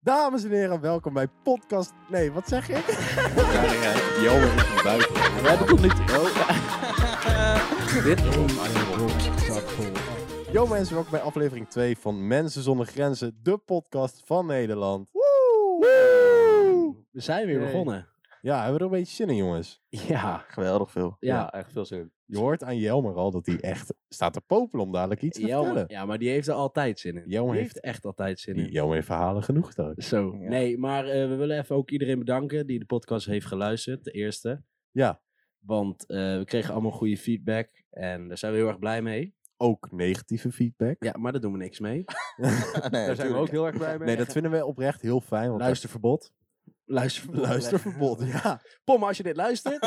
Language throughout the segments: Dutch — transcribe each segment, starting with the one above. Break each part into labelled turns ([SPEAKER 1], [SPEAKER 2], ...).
[SPEAKER 1] Dames en heren, welkom bij podcast... Nee, wat zeg ik?
[SPEAKER 2] Jelmer is een buiten. We hebben tot nu toe... Dit
[SPEAKER 1] Yo mensen, welkom bij aflevering 2 van Mensen Zonder Grenzen, de podcast van Nederland.
[SPEAKER 2] We zijn weer
[SPEAKER 1] Hey.
[SPEAKER 2] begonnen.
[SPEAKER 1] Ja, hebben we er een beetje zin in jongens?
[SPEAKER 2] Ja,
[SPEAKER 3] Geweldig veel.
[SPEAKER 2] ja,
[SPEAKER 1] Ja.
[SPEAKER 2] echt veel zin.
[SPEAKER 1] Je hoort aan Jelmer al dat hij echt staat te popelen om dadelijk iets te
[SPEAKER 2] Jelmer,
[SPEAKER 1] vertellen.
[SPEAKER 2] ja, maar die heeft er altijd zin in.
[SPEAKER 1] Jelmer
[SPEAKER 2] die
[SPEAKER 1] heeft-
[SPEAKER 2] heeft echt altijd zin
[SPEAKER 1] Die
[SPEAKER 2] in.
[SPEAKER 1] Jelmer heeft verhalen genoeg daar.
[SPEAKER 2] Zo,
[SPEAKER 3] Ja.
[SPEAKER 2] nee, maar eh, we willen even ook iedereen bedanken die de podcast heeft geluisterd, de eerste.
[SPEAKER 1] Ja.
[SPEAKER 2] Want eh, we kregen allemaal goede feedback en daar zijn we heel erg blij mee.
[SPEAKER 1] Ook negatieve feedback.
[SPEAKER 2] Ja, maar daar doen we niks mee.
[SPEAKER 3] nee, tuurlijk.
[SPEAKER 2] heel erg blij
[SPEAKER 1] Nee, dat vinden wij oprecht heel fijn. Want
[SPEAKER 2] Luisterverbod. Luisterverbod.
[SPEAKER 1] Luisterverbod, ja.
[SPEAKER 2] Pom, als je dit luistert.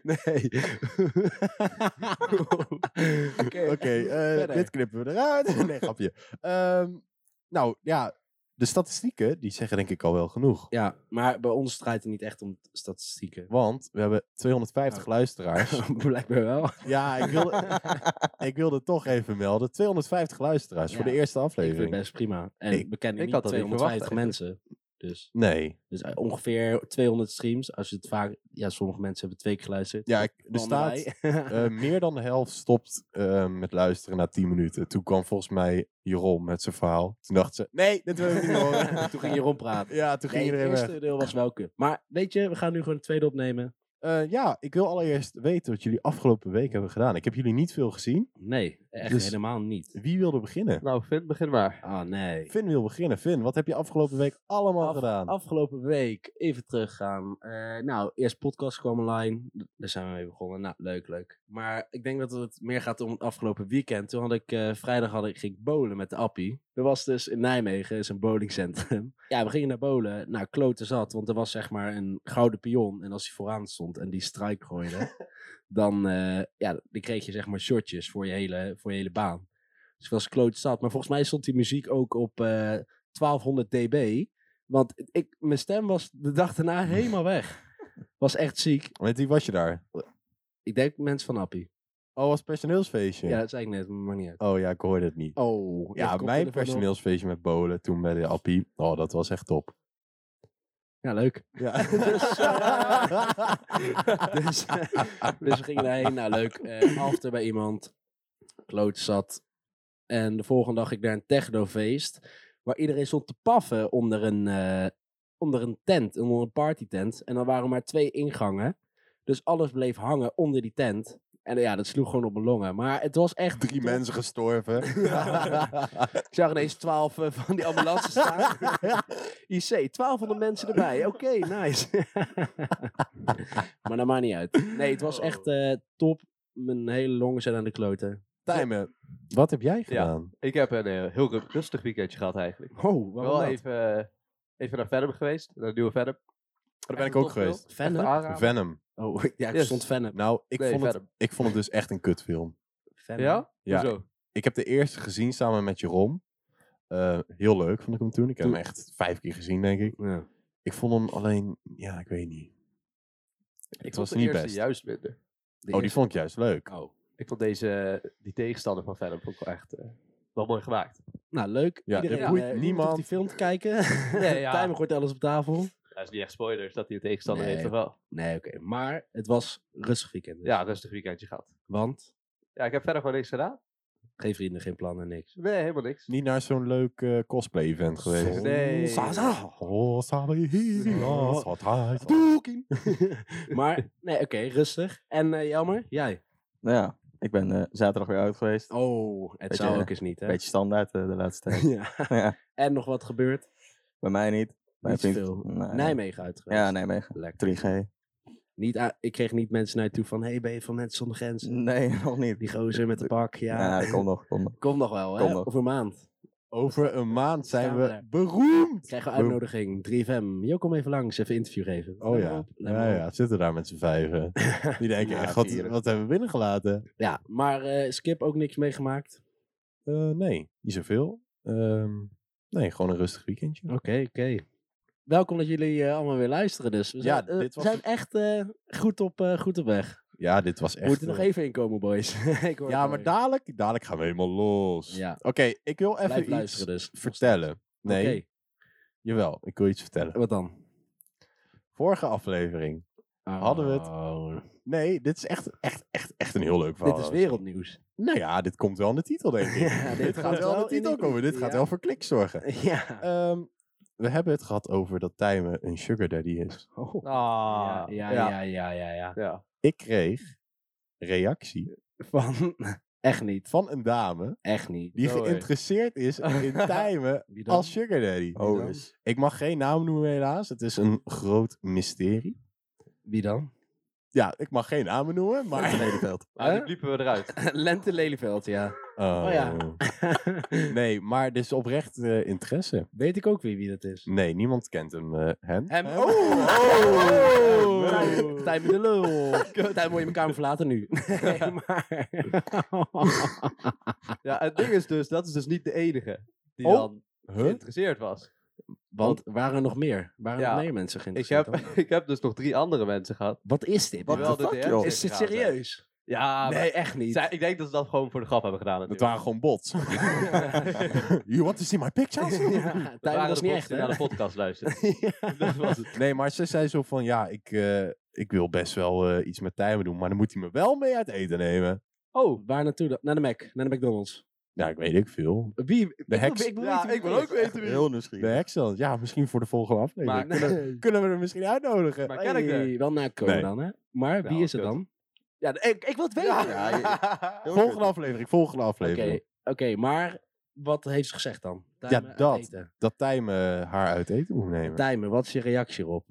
[SPEAKER 2] nee. Oké.
[SPEAKER 1] Oké, eh,
[SPEAKER 2] Verder.
[SPEAKER 1] dit knippen we eruit. Nee, grapje. Ehm, nou ja, de statistieken die zeggen denk ik al wel genoeg.
[SPEAKER 2] Ja, maar bij ons draait het niet echt om statistieken.
[SPEAKER 1] Want we hebben
[SPEAKER 2] Oh.
[SPEAKER 1] 250 luisteraars.
[SPEAKER 2] Blijkbaar wel.
[SPEAKER 1] ja, ik wilde, ik wilde toch even melden. 250 luisteraars voor de
[SPEAKER 2] Ja,
[SPEAKER 1] eerste
[SPEAKER 2] Ik vind het
[SPEAKER 1] aflevering.
[SPEAKER 2] best prima. En
[SPEAKER 1] Ik-
[SPEAKER 2] we kennen
[SPEAKER 3] ik
[SPEAKER 2] niet
[SPEAKER 3] had dat niet verwacht
[SPEAKER 2] 250 mensen. Dus,
[SPEAKER 1] Nee.
[SPEAKER 2] dus eh, ongeveer 200 streams. Als je het vaak... Ja, sommige mensen hebben twee keer geluisterd.
[SPEAKER 1] Ja, ik, er
[SPEAKER 2] Dan
[SPEAKER 1] staat
[SPEAKER 2] wij.
[SPEAKER 1] eh, meer dan de helft stopt eh, met luisteren na 10 minuten. Toen kwam volgens mij Jeroen met zijn verhaal. Toen dacht ze, nee, dit wil ik niet horen.
[SPEAKER 2] Toen ging je rondpraten.
[SPEAKER 1] Ja, toen ging
[SPEAKER 2] Nee,
[SPEAKER 1] iedereen
[SPEAKER 2] het
[SPEAKER 1] weg.
[SPEAKER 2] eerste deel was wel kut. Maar weet je, we gaan nu gewoon het tweede opnemen.
[SPEAKER 1] Eh, ja, ik wil allereerst weten wat jullie afgelopen week hebben gedaan. Ik heb jullie niet veel gezien.
[SPEAKER 2] Nee, echt
[SPEAKER 1] Dus-
[SPEAKER 2] helemaal niet.
[SPEAKER 1] Wie wilde beginnen?
[SPEAKER 3] Nou, Finn, begin maar.
[SPEAKER 2] Ah, nee.
[SPEAKER 1] Finn wil beginnen. Finn, wat heb je afgelopen week allemaal
[SPEAKER 2] Af-
[SPEAKER 1] gedaan?
[SPEAKER 2] Afgelopen week, even teruggaan. Eh, nou, eerst podcast kwam online. D- Daar zijn we mee begonnen. Nou, leuk, leuk. Maar ik denk dat het meer gaat om het afgelopen weekend. Toen had ik, eh, vrijdag had ik, ging ik bowlen met de appie. Er was dus in Nijmegen, is een bowlingcentrum. Ja, we gingen naar bowlen. Nou, kloten zat, want er was zeg maar een gouden pion. En als hij vooraan stond en die strike gooide, dan, eh, ja, dan kreeg je zeg maar shotjes voor je hele, voor je hele baan. Dus ik was kloot zat. Maar volgens mij stond die muziek ook op eh, 1200 dB. Want ik, mijn stem was de dag daarna helemaal weg. Was echt ziek.
[SPEAKER 1] Met wie was je daar?
[SPEAKER 2] Ik denk mensen van Appie.
[SPEAKER 1] Oh, was personeelsfeestje?
[SPEAKER 2] Ja, dat zei ik net, maar niet uit.
[SPEAKER 1] Oh ja, ik hoorde het niet.
[SPEAKER 2] Oh,
[SPEAKER 1] ja, mijn personeelsfeestje met Bolen toen bij de Appie. Oh, dat was echt top.
[SPEAKER 2] Ja, leuk.
[SPEAKER 1] Ja.
[SPEAKER 2] Dus, eh, dus, dus we gingen daarheen. Nou, leuk. Eh after bij iemand. Kloot zat. En de volgende dag ik naar een technofeest. Waar iedereen stond te paffen onder een, eh, onder een tent. Onder een partytent. En dan waren er maar twee ingangen. Dus alles bleef hangen onder die tent. En eh, ja, dat sloeg gewoon op mijn longen. Maar het was echt
[SPEAKER 1] Drie
[SPEAKER 2] top.
[SPEAKER 1] mensen gestorven.
[SPEAKER 2] Ik zag ineens twaalf eh, van die ambulances staan. IC, 1200 mensen erbij. Oké, nice. maar dat maakt niet uit. Nee, het was
[SPEAKER 3] Oh.
[SPEAKER 2] echt eh, top. Mijn hele longen zijn aan de kloten.
[SPEAKER 1] Tijmen, wat heb jij gedaan?
[SPEAKER 3] Ik heb een eh, heel ru- rustig weekendje gehad eigenlijk.
[SPEAKER 2] Oh,
[SPEAKER 3] Wel even, eh, even naar Venom geweest, naar de nieuwe Venom. Daar
[SPEAKER 1] ben ik ook geweest.
[SPEAKER 2] Venom?
[SPEAKER 1] Venom.
[SPEAKER 2] Oh, ja, ik
[SPEAKER 3] Yes.
[SPEAKER 2] stond Venom.
[SPEAKER 1] Nou, ik,
[SPEAKER 3] Ik nee,
[SPEAKER 1] vond het,
[SPEAKER 3] Venom.
[SPEAKER 1] ik vond het dus echt een kutfilm.
[SPEAKER 2] Venom.
[SPEAKER 3] Ja?
[SPEAKER 1] Ja,
[SPEAKER 3] Hoezo?
[SPEAKER 1] Ik heb de eerste gezien samen met Jeroen. Eh, heel leuk vond ik hem toen. Ik heb hem echt vijf keer gezien, denk ik.
[SPEAKER 3] Oh,
[SPEAKER 2] Ja.
[SPEAKER 1] Ik vond hem alleen, ja, ik weet niet.
[SPEAKER 3] Ik
[SPEAKER 1] het
[SPEAKER 3] vond
[SPEAKER 1] was
[SPEAKER 3] de
[SPEAKER 1] niet
[SPEAKER 3] eerste
[SPEAKER 1] best.
[SPEAKER 3] juist minder.
[SPEAKER 1] oh, die vond ik juist leuk.
[SPEAKER 2] Oh.
[SPEAKER 3] Ik vond deze, die tegenstander van Venom vond ik wel echt eh, wel mooi gemaakt.
[SPEAKER 2] Nou, leuk.
[SPEAKER 1] Ja,
[SPEAKER 2] Iedereen,
[SPEAKER 1] dit boeit
[SPEAKER 2] eh, hoeft
[SPEAKER 1] niemand.
[SPEAKER 2] die film te kijken.
[SPEAKER 3] Nee, ja.
[SPEAKER 2] Timer gooit alles op tafel.
[SPEAKER 3] Dat is niet echt spoilers dat hij een tegenstander
[SPEAKER 2] Nee.
[SPEAKER 3] heeft, of wel?
[SPEAKER 2] Nee, oké. Maar het was rustig weekend. dus.
[SPEAKER 3] Ja, rustig weekendje gehad.
[SPEAKER 2] Want
[SPEAKER 3] Ja, ik heb verder gewoon niks gedaan.
[SPEAKER 2] geen vrienden, geen plannen, niks.
[SPEAKER 3] Nee, helemaal niks.
[SPEAKER 1] Niet naar zo'n leuk eh, cosplay-event geweest.
[SPEAKER 3] Zo. Nee.
[SPEAKER 2] Zaza.
[SPEAKER 1] Oh, samen hier, ja,
[SPEAKER 2] Oh.
[SPEAKER 1] zat hij.
[SPEAKER 2] Boeking. maar, nee, oké, rustig. En eh jammer, jij?
[SPEAKER 4] Nou ja, ik ben eh, zaterdag weer uit geweest.
[SPEAKER 2] Oh, het
[SPEAKER 4] Beetje,
[SPEAKER 2] zou
[SPEAKER 4] eh,
[SPEAKER 2] ook eens niet, hè?
[SPEAKER 4] Beetje standaard eh, de laatste tijd.
[SPEAKER 2] ja.
[SPEAKER 4] ja,
[SPEAKER 2] En nog wat gebeurd?
[SPEAKER 4] bij mij niet. Mijn
[SPEAKER 2] Niet
[SPEAKER 4] vriend-
[SPEAKER 2] veel.
[SPEAKER 4] Nee.
[SPEAKER 2] Nijmegen uitgeweest.
[SPEAKER 4] Ja, Nijmegen.
[SPEAKER 2] Lekker.
[SPEAKER 4] 3G.
[SPEAKER 2] Niet a- ik kreeg niet mensen naar je toe van, hey, ben je van Mensen Zonder Grenzen?
[SPEAKER 4] Nee, nog niet.
[SPEAKER 2] Die gozer met de pak, ja.
[SPEAKER 4] Ja, dat komt nog, komt nog.
[SPEAKER 2] Kom nog wel, hè?
[SPEAKER 4] Kom nog.
[SPEAKER 2] Over een maand.
[SPEAKER 1] Over een maand zijn
[SPEAKER 2] Staan we
[SPEAKER 1] we
[SPEAKER 2] daar.
[SPEAKER 1] beroemd.
[SPEAKER 2] Krijgen we
[SPEAKER 1] Boom.
[SPEAKER 2] uitnodiging. 3FM. Jo, kom even langs, even interview geven.
[SPEAKER 1] Oh
[SPEAKER 2] Let
[SPEAKER 1] ja.
[SPEAKER 2] maar op, let
[SPEAKER 1] Ja,
[SPEAKER 2] maar op.
[SPEAKER 1] ja, zitten daar met z'n vijven. Die denken,
[SPEAKER 4] Ja,
[SPEAKER 1] echt, wat,
[SPEAKER 4] tuurlijk.
[SPEAKER 1] wat hebben we binnengelaten?
[SPEAKER 2] Ja, maar eh, Skip ook niks meegemaakt?
[SPEAKER 1] Eh, nee, niet zoveel. Ehm, nee, gewoon een rustig weekendje.
[SPEAKER 2] Oké, oké. Welkom dat jullie eh, allemaal weer luisteren dus. We
[SPEAKER 1] Ja,
[SPEAKER 2] zijn, eh,
[SPEAKER 1] dit was
[SPEAKER 2] zijn
[SPEAKER 1] het-
[SPEAKER 2] echt eh, goed, op, eh, goed op weg.
[SPEAKER 1] Ja, dit was echt...
[SPEAKER 2] We moeten nog
[SPEAKER 1] eh,
[SPEAKER 2] even inkomen, boys. Ik hoor
[SPEAKER 1] Ja,
[SPEAKER 2] het
[SPEAKER 1] maar
[SPEAKER 2] alweer.
[SPEAKER 1] dadelijk, dadelijk gaan we helemaal los.
[SPEAKER 2] Ja.
[SPEAKER 1] Oké, ik wil even
[SPEAKER 2] Blijf
[SPEAKER 1] iets
[SPEAKER 2] luisteren dus.
[SPEAKER 1] vertellen. Nee,
[SPEAKER 2] Oké,
[SPEAKER 1] jawel, ik wil iets vertellen.
[SPEAKER 2] wat dan?
[SPEAKER 1] Vorige aflevering. Hadden we het-
[SPEAKER 2] Oh,
[SPEAKER 1] Nee, dit is echt, echt, echt, echt een heel leuk verhaal.
[SPEAKER 2] Dit is wereldnieuws.
[SPEAKER 1] Nou ja, dit komt wel in de titel, denk ik.
[SPEAKER 2] Ja,
[SPEAKER 1] dit gaat wel in de titel komen. Dit gaat
[SPEAKER 2] ja.
[SPEAKER 1] wel voor klik zorgen.
[SPEAKER 2] Ja.
[SPEAKER 1] Ehm, we hebben het gehad over dat Tijmen een sugar daddy is.
[SPEAKER 2] Oh.
[SPEAKER 3] Ah,
[SPEAKER 2] Ja, ja, ja, ja, ja, ja.
[SPEAKER 3] ja.
[SPEAKER 1] Ik kreeg reactie
[SPEAKER 2] Van, echt niet,
[SPEAKER 1] van een dame
[SPEAKER 2] echt niet.
[SPEAKER 1] die
[SPEAKER 3] Oh, hey.
[SPEAKER 1] geïnteresseerd is in Tijmen
[SPEAKER 2] Wie dan?
[SPEAKER 1] als sugar daddy.
[SPEAKER 2] Wie dan?
[SPEAKER 4] Oh, dus.
[SPEAKER 1] Ik mag geen naam noemen helaas. Het is een groot mysterie.
[SPEAKER 2] Wie dan?
[SPEAKER 1] Ja, ik mag geen namen noemen, maar...
[SPEAKER 4] Nederveld.
[SPEAKER 3] Maar die
[SPEAKER 2] Hè?
[SPEAKER 3] liepen Ah, we eruit.
[SPEAKER 2] Lente Lelyveld, ja.
[SPEAKER 1] Oh.
[SPEAKER 2] Oh ja.
[SPEAKER 1] Nee, maar dus oprecht eh, interesse.
[SPEAKER 2] Weet ik ook weer wie dat is.
[SPEAKER 1] Nee, niemand kent hem. eh, hem? Hem?
[SPEAKER 2] Hem. Oh!
[SPEAKER 1] Oh!
[SPEAKER 2] Tijm- Tijm de lul. Tijm, moet je elkaar maar verlaten nu. Nee, maar...
[SPEAKER 3] Ja, het ding is dus, dat is dus niet de enige die
[SPEAKER 1] Oh.
[SPEAKER 3] dan
[SPEAKER 1] Huh?
[SPEAKER 3] geïnteresseerd was.
[SPEAKER 2] Want waren er nog meer? Waren
[SPEAKER 3] Ja.
[SPEAKER 2] nog meer mensen
[SPEAKER 3] Ik
[SPEAKER 2] geïnteresseerd?
[SPEAKER 3] heb, ik heb dus nog drie andere mensen gehad.
[SPEAKER 2] dan? Wat is dit?
[SPEAKER 4] Wat
[SPEAKER 2] man?
[SPEAKER 3] Terwijl
[SPEAKER 4] de fuck,
[SPEAKER 3] DM's
[SPEAKER 4] joh?
[SPEAKER 3] in
[SPEAKER 2] Is dit
[SPEAKER 3] gegaan zijn.
[SPEAKER 2] serieus?
[SPEAKER 3] Ja, maar
[SPEAKER 2] Nee, echt niet.
[SPEAKER 3] zij- ik denk dat ze dat gewoon voor de grap hebben gedaan
[SPEAKER 1] Dat
[SPEAKER 3] natuurlijk.
[SPEAKER 1] waren gewoon bots. you want to see my pictures?
[SPEAKER 2] Ja,
[SPEAKER 3] Dat
[SPEAKER 2] Tijm
[SPEAKER 3] waren
[SPEAKER 2] was
[SPEAKER 3] de
[SPEAKER 2] niet
[SPEAKER 3] bots
[SPEAKER 2] echt,
[SPEAKER 3] die
[SPEAKER 2] hè?
[SPEAKER 3] naar de podcast luisteren.
[SPEAKER 2] Ja.
[SPEAKER 3] dat was het.
[SPEAKER 1] Nee, maar ze zei zo van, ja, ik, eh, ik wil best wel eh, iets met Tijmen doen, maar dan moet hij me wel mee uit eten nemen.
[SPEAKER 3] Oh,
[SPEAKER 2] Waar naartoe dan? Naar de Mac, naar de McDonald's.
[SPEAKER 1] Ja, ik weet ik veel.
[SPEAKER 2] Wie?
[SPEAKER 1] De heks.
[SPEAKER 2] wil weten
[SPEAKER 3] Ja,
[SPEAKER 2] wie
[SPEAKER 3] ik
[SPEAKER 2] het
[SPEAKER 3] wil
[SPEAKER 2] is.
[SPEAKER 3] ook weten wie-
[SPEAKER 4] Heel
[SPEAKER 1] De
[SPEAKER 4] nieuwsgierig.
[SPEAKER 1] heks dan. Ja, misschien voor de volgende aflevering.
[SPEAKER 3] Maar-
[SPEAKER 1] kunnen,
[SPEAKER 2] Nee.
[SPEAKER 1] kunnen we er misschien uitnodigen?
[SPEAKER 3] Maar ken ik haar?
[SPEAKER 2] Hey, wel nakomen
[SPEAKER 1] Nee.
[SPEAKER 2] dan, hè? Maar wie
[SPEAKER 3] Nou,
[SPEAKER 2] is het
[SPEAKER 3] kut.
[SPEAKER 2] dan? Ja, ik, wil het weten.
[SPEAKER 4] Ja, je- heel
[SPEAKER 1] Volgende
[SPEAKER 4] kut.
[SPEAKER 1] aflevering, volgende
[SPEAKER 2] Oké,
[SPEAKER 1] aflevering.
[SPEAKER 2] oké, maar wat heeft ze gezegd dan? uit
[SPEAKER 1] dat.
[SPEAKER 2] eten.
[SPEAKER 1] Dat Tijmen haar uit eten moet nemen.
[SPEAKER 2] Tijmen, wat is je reactie erop?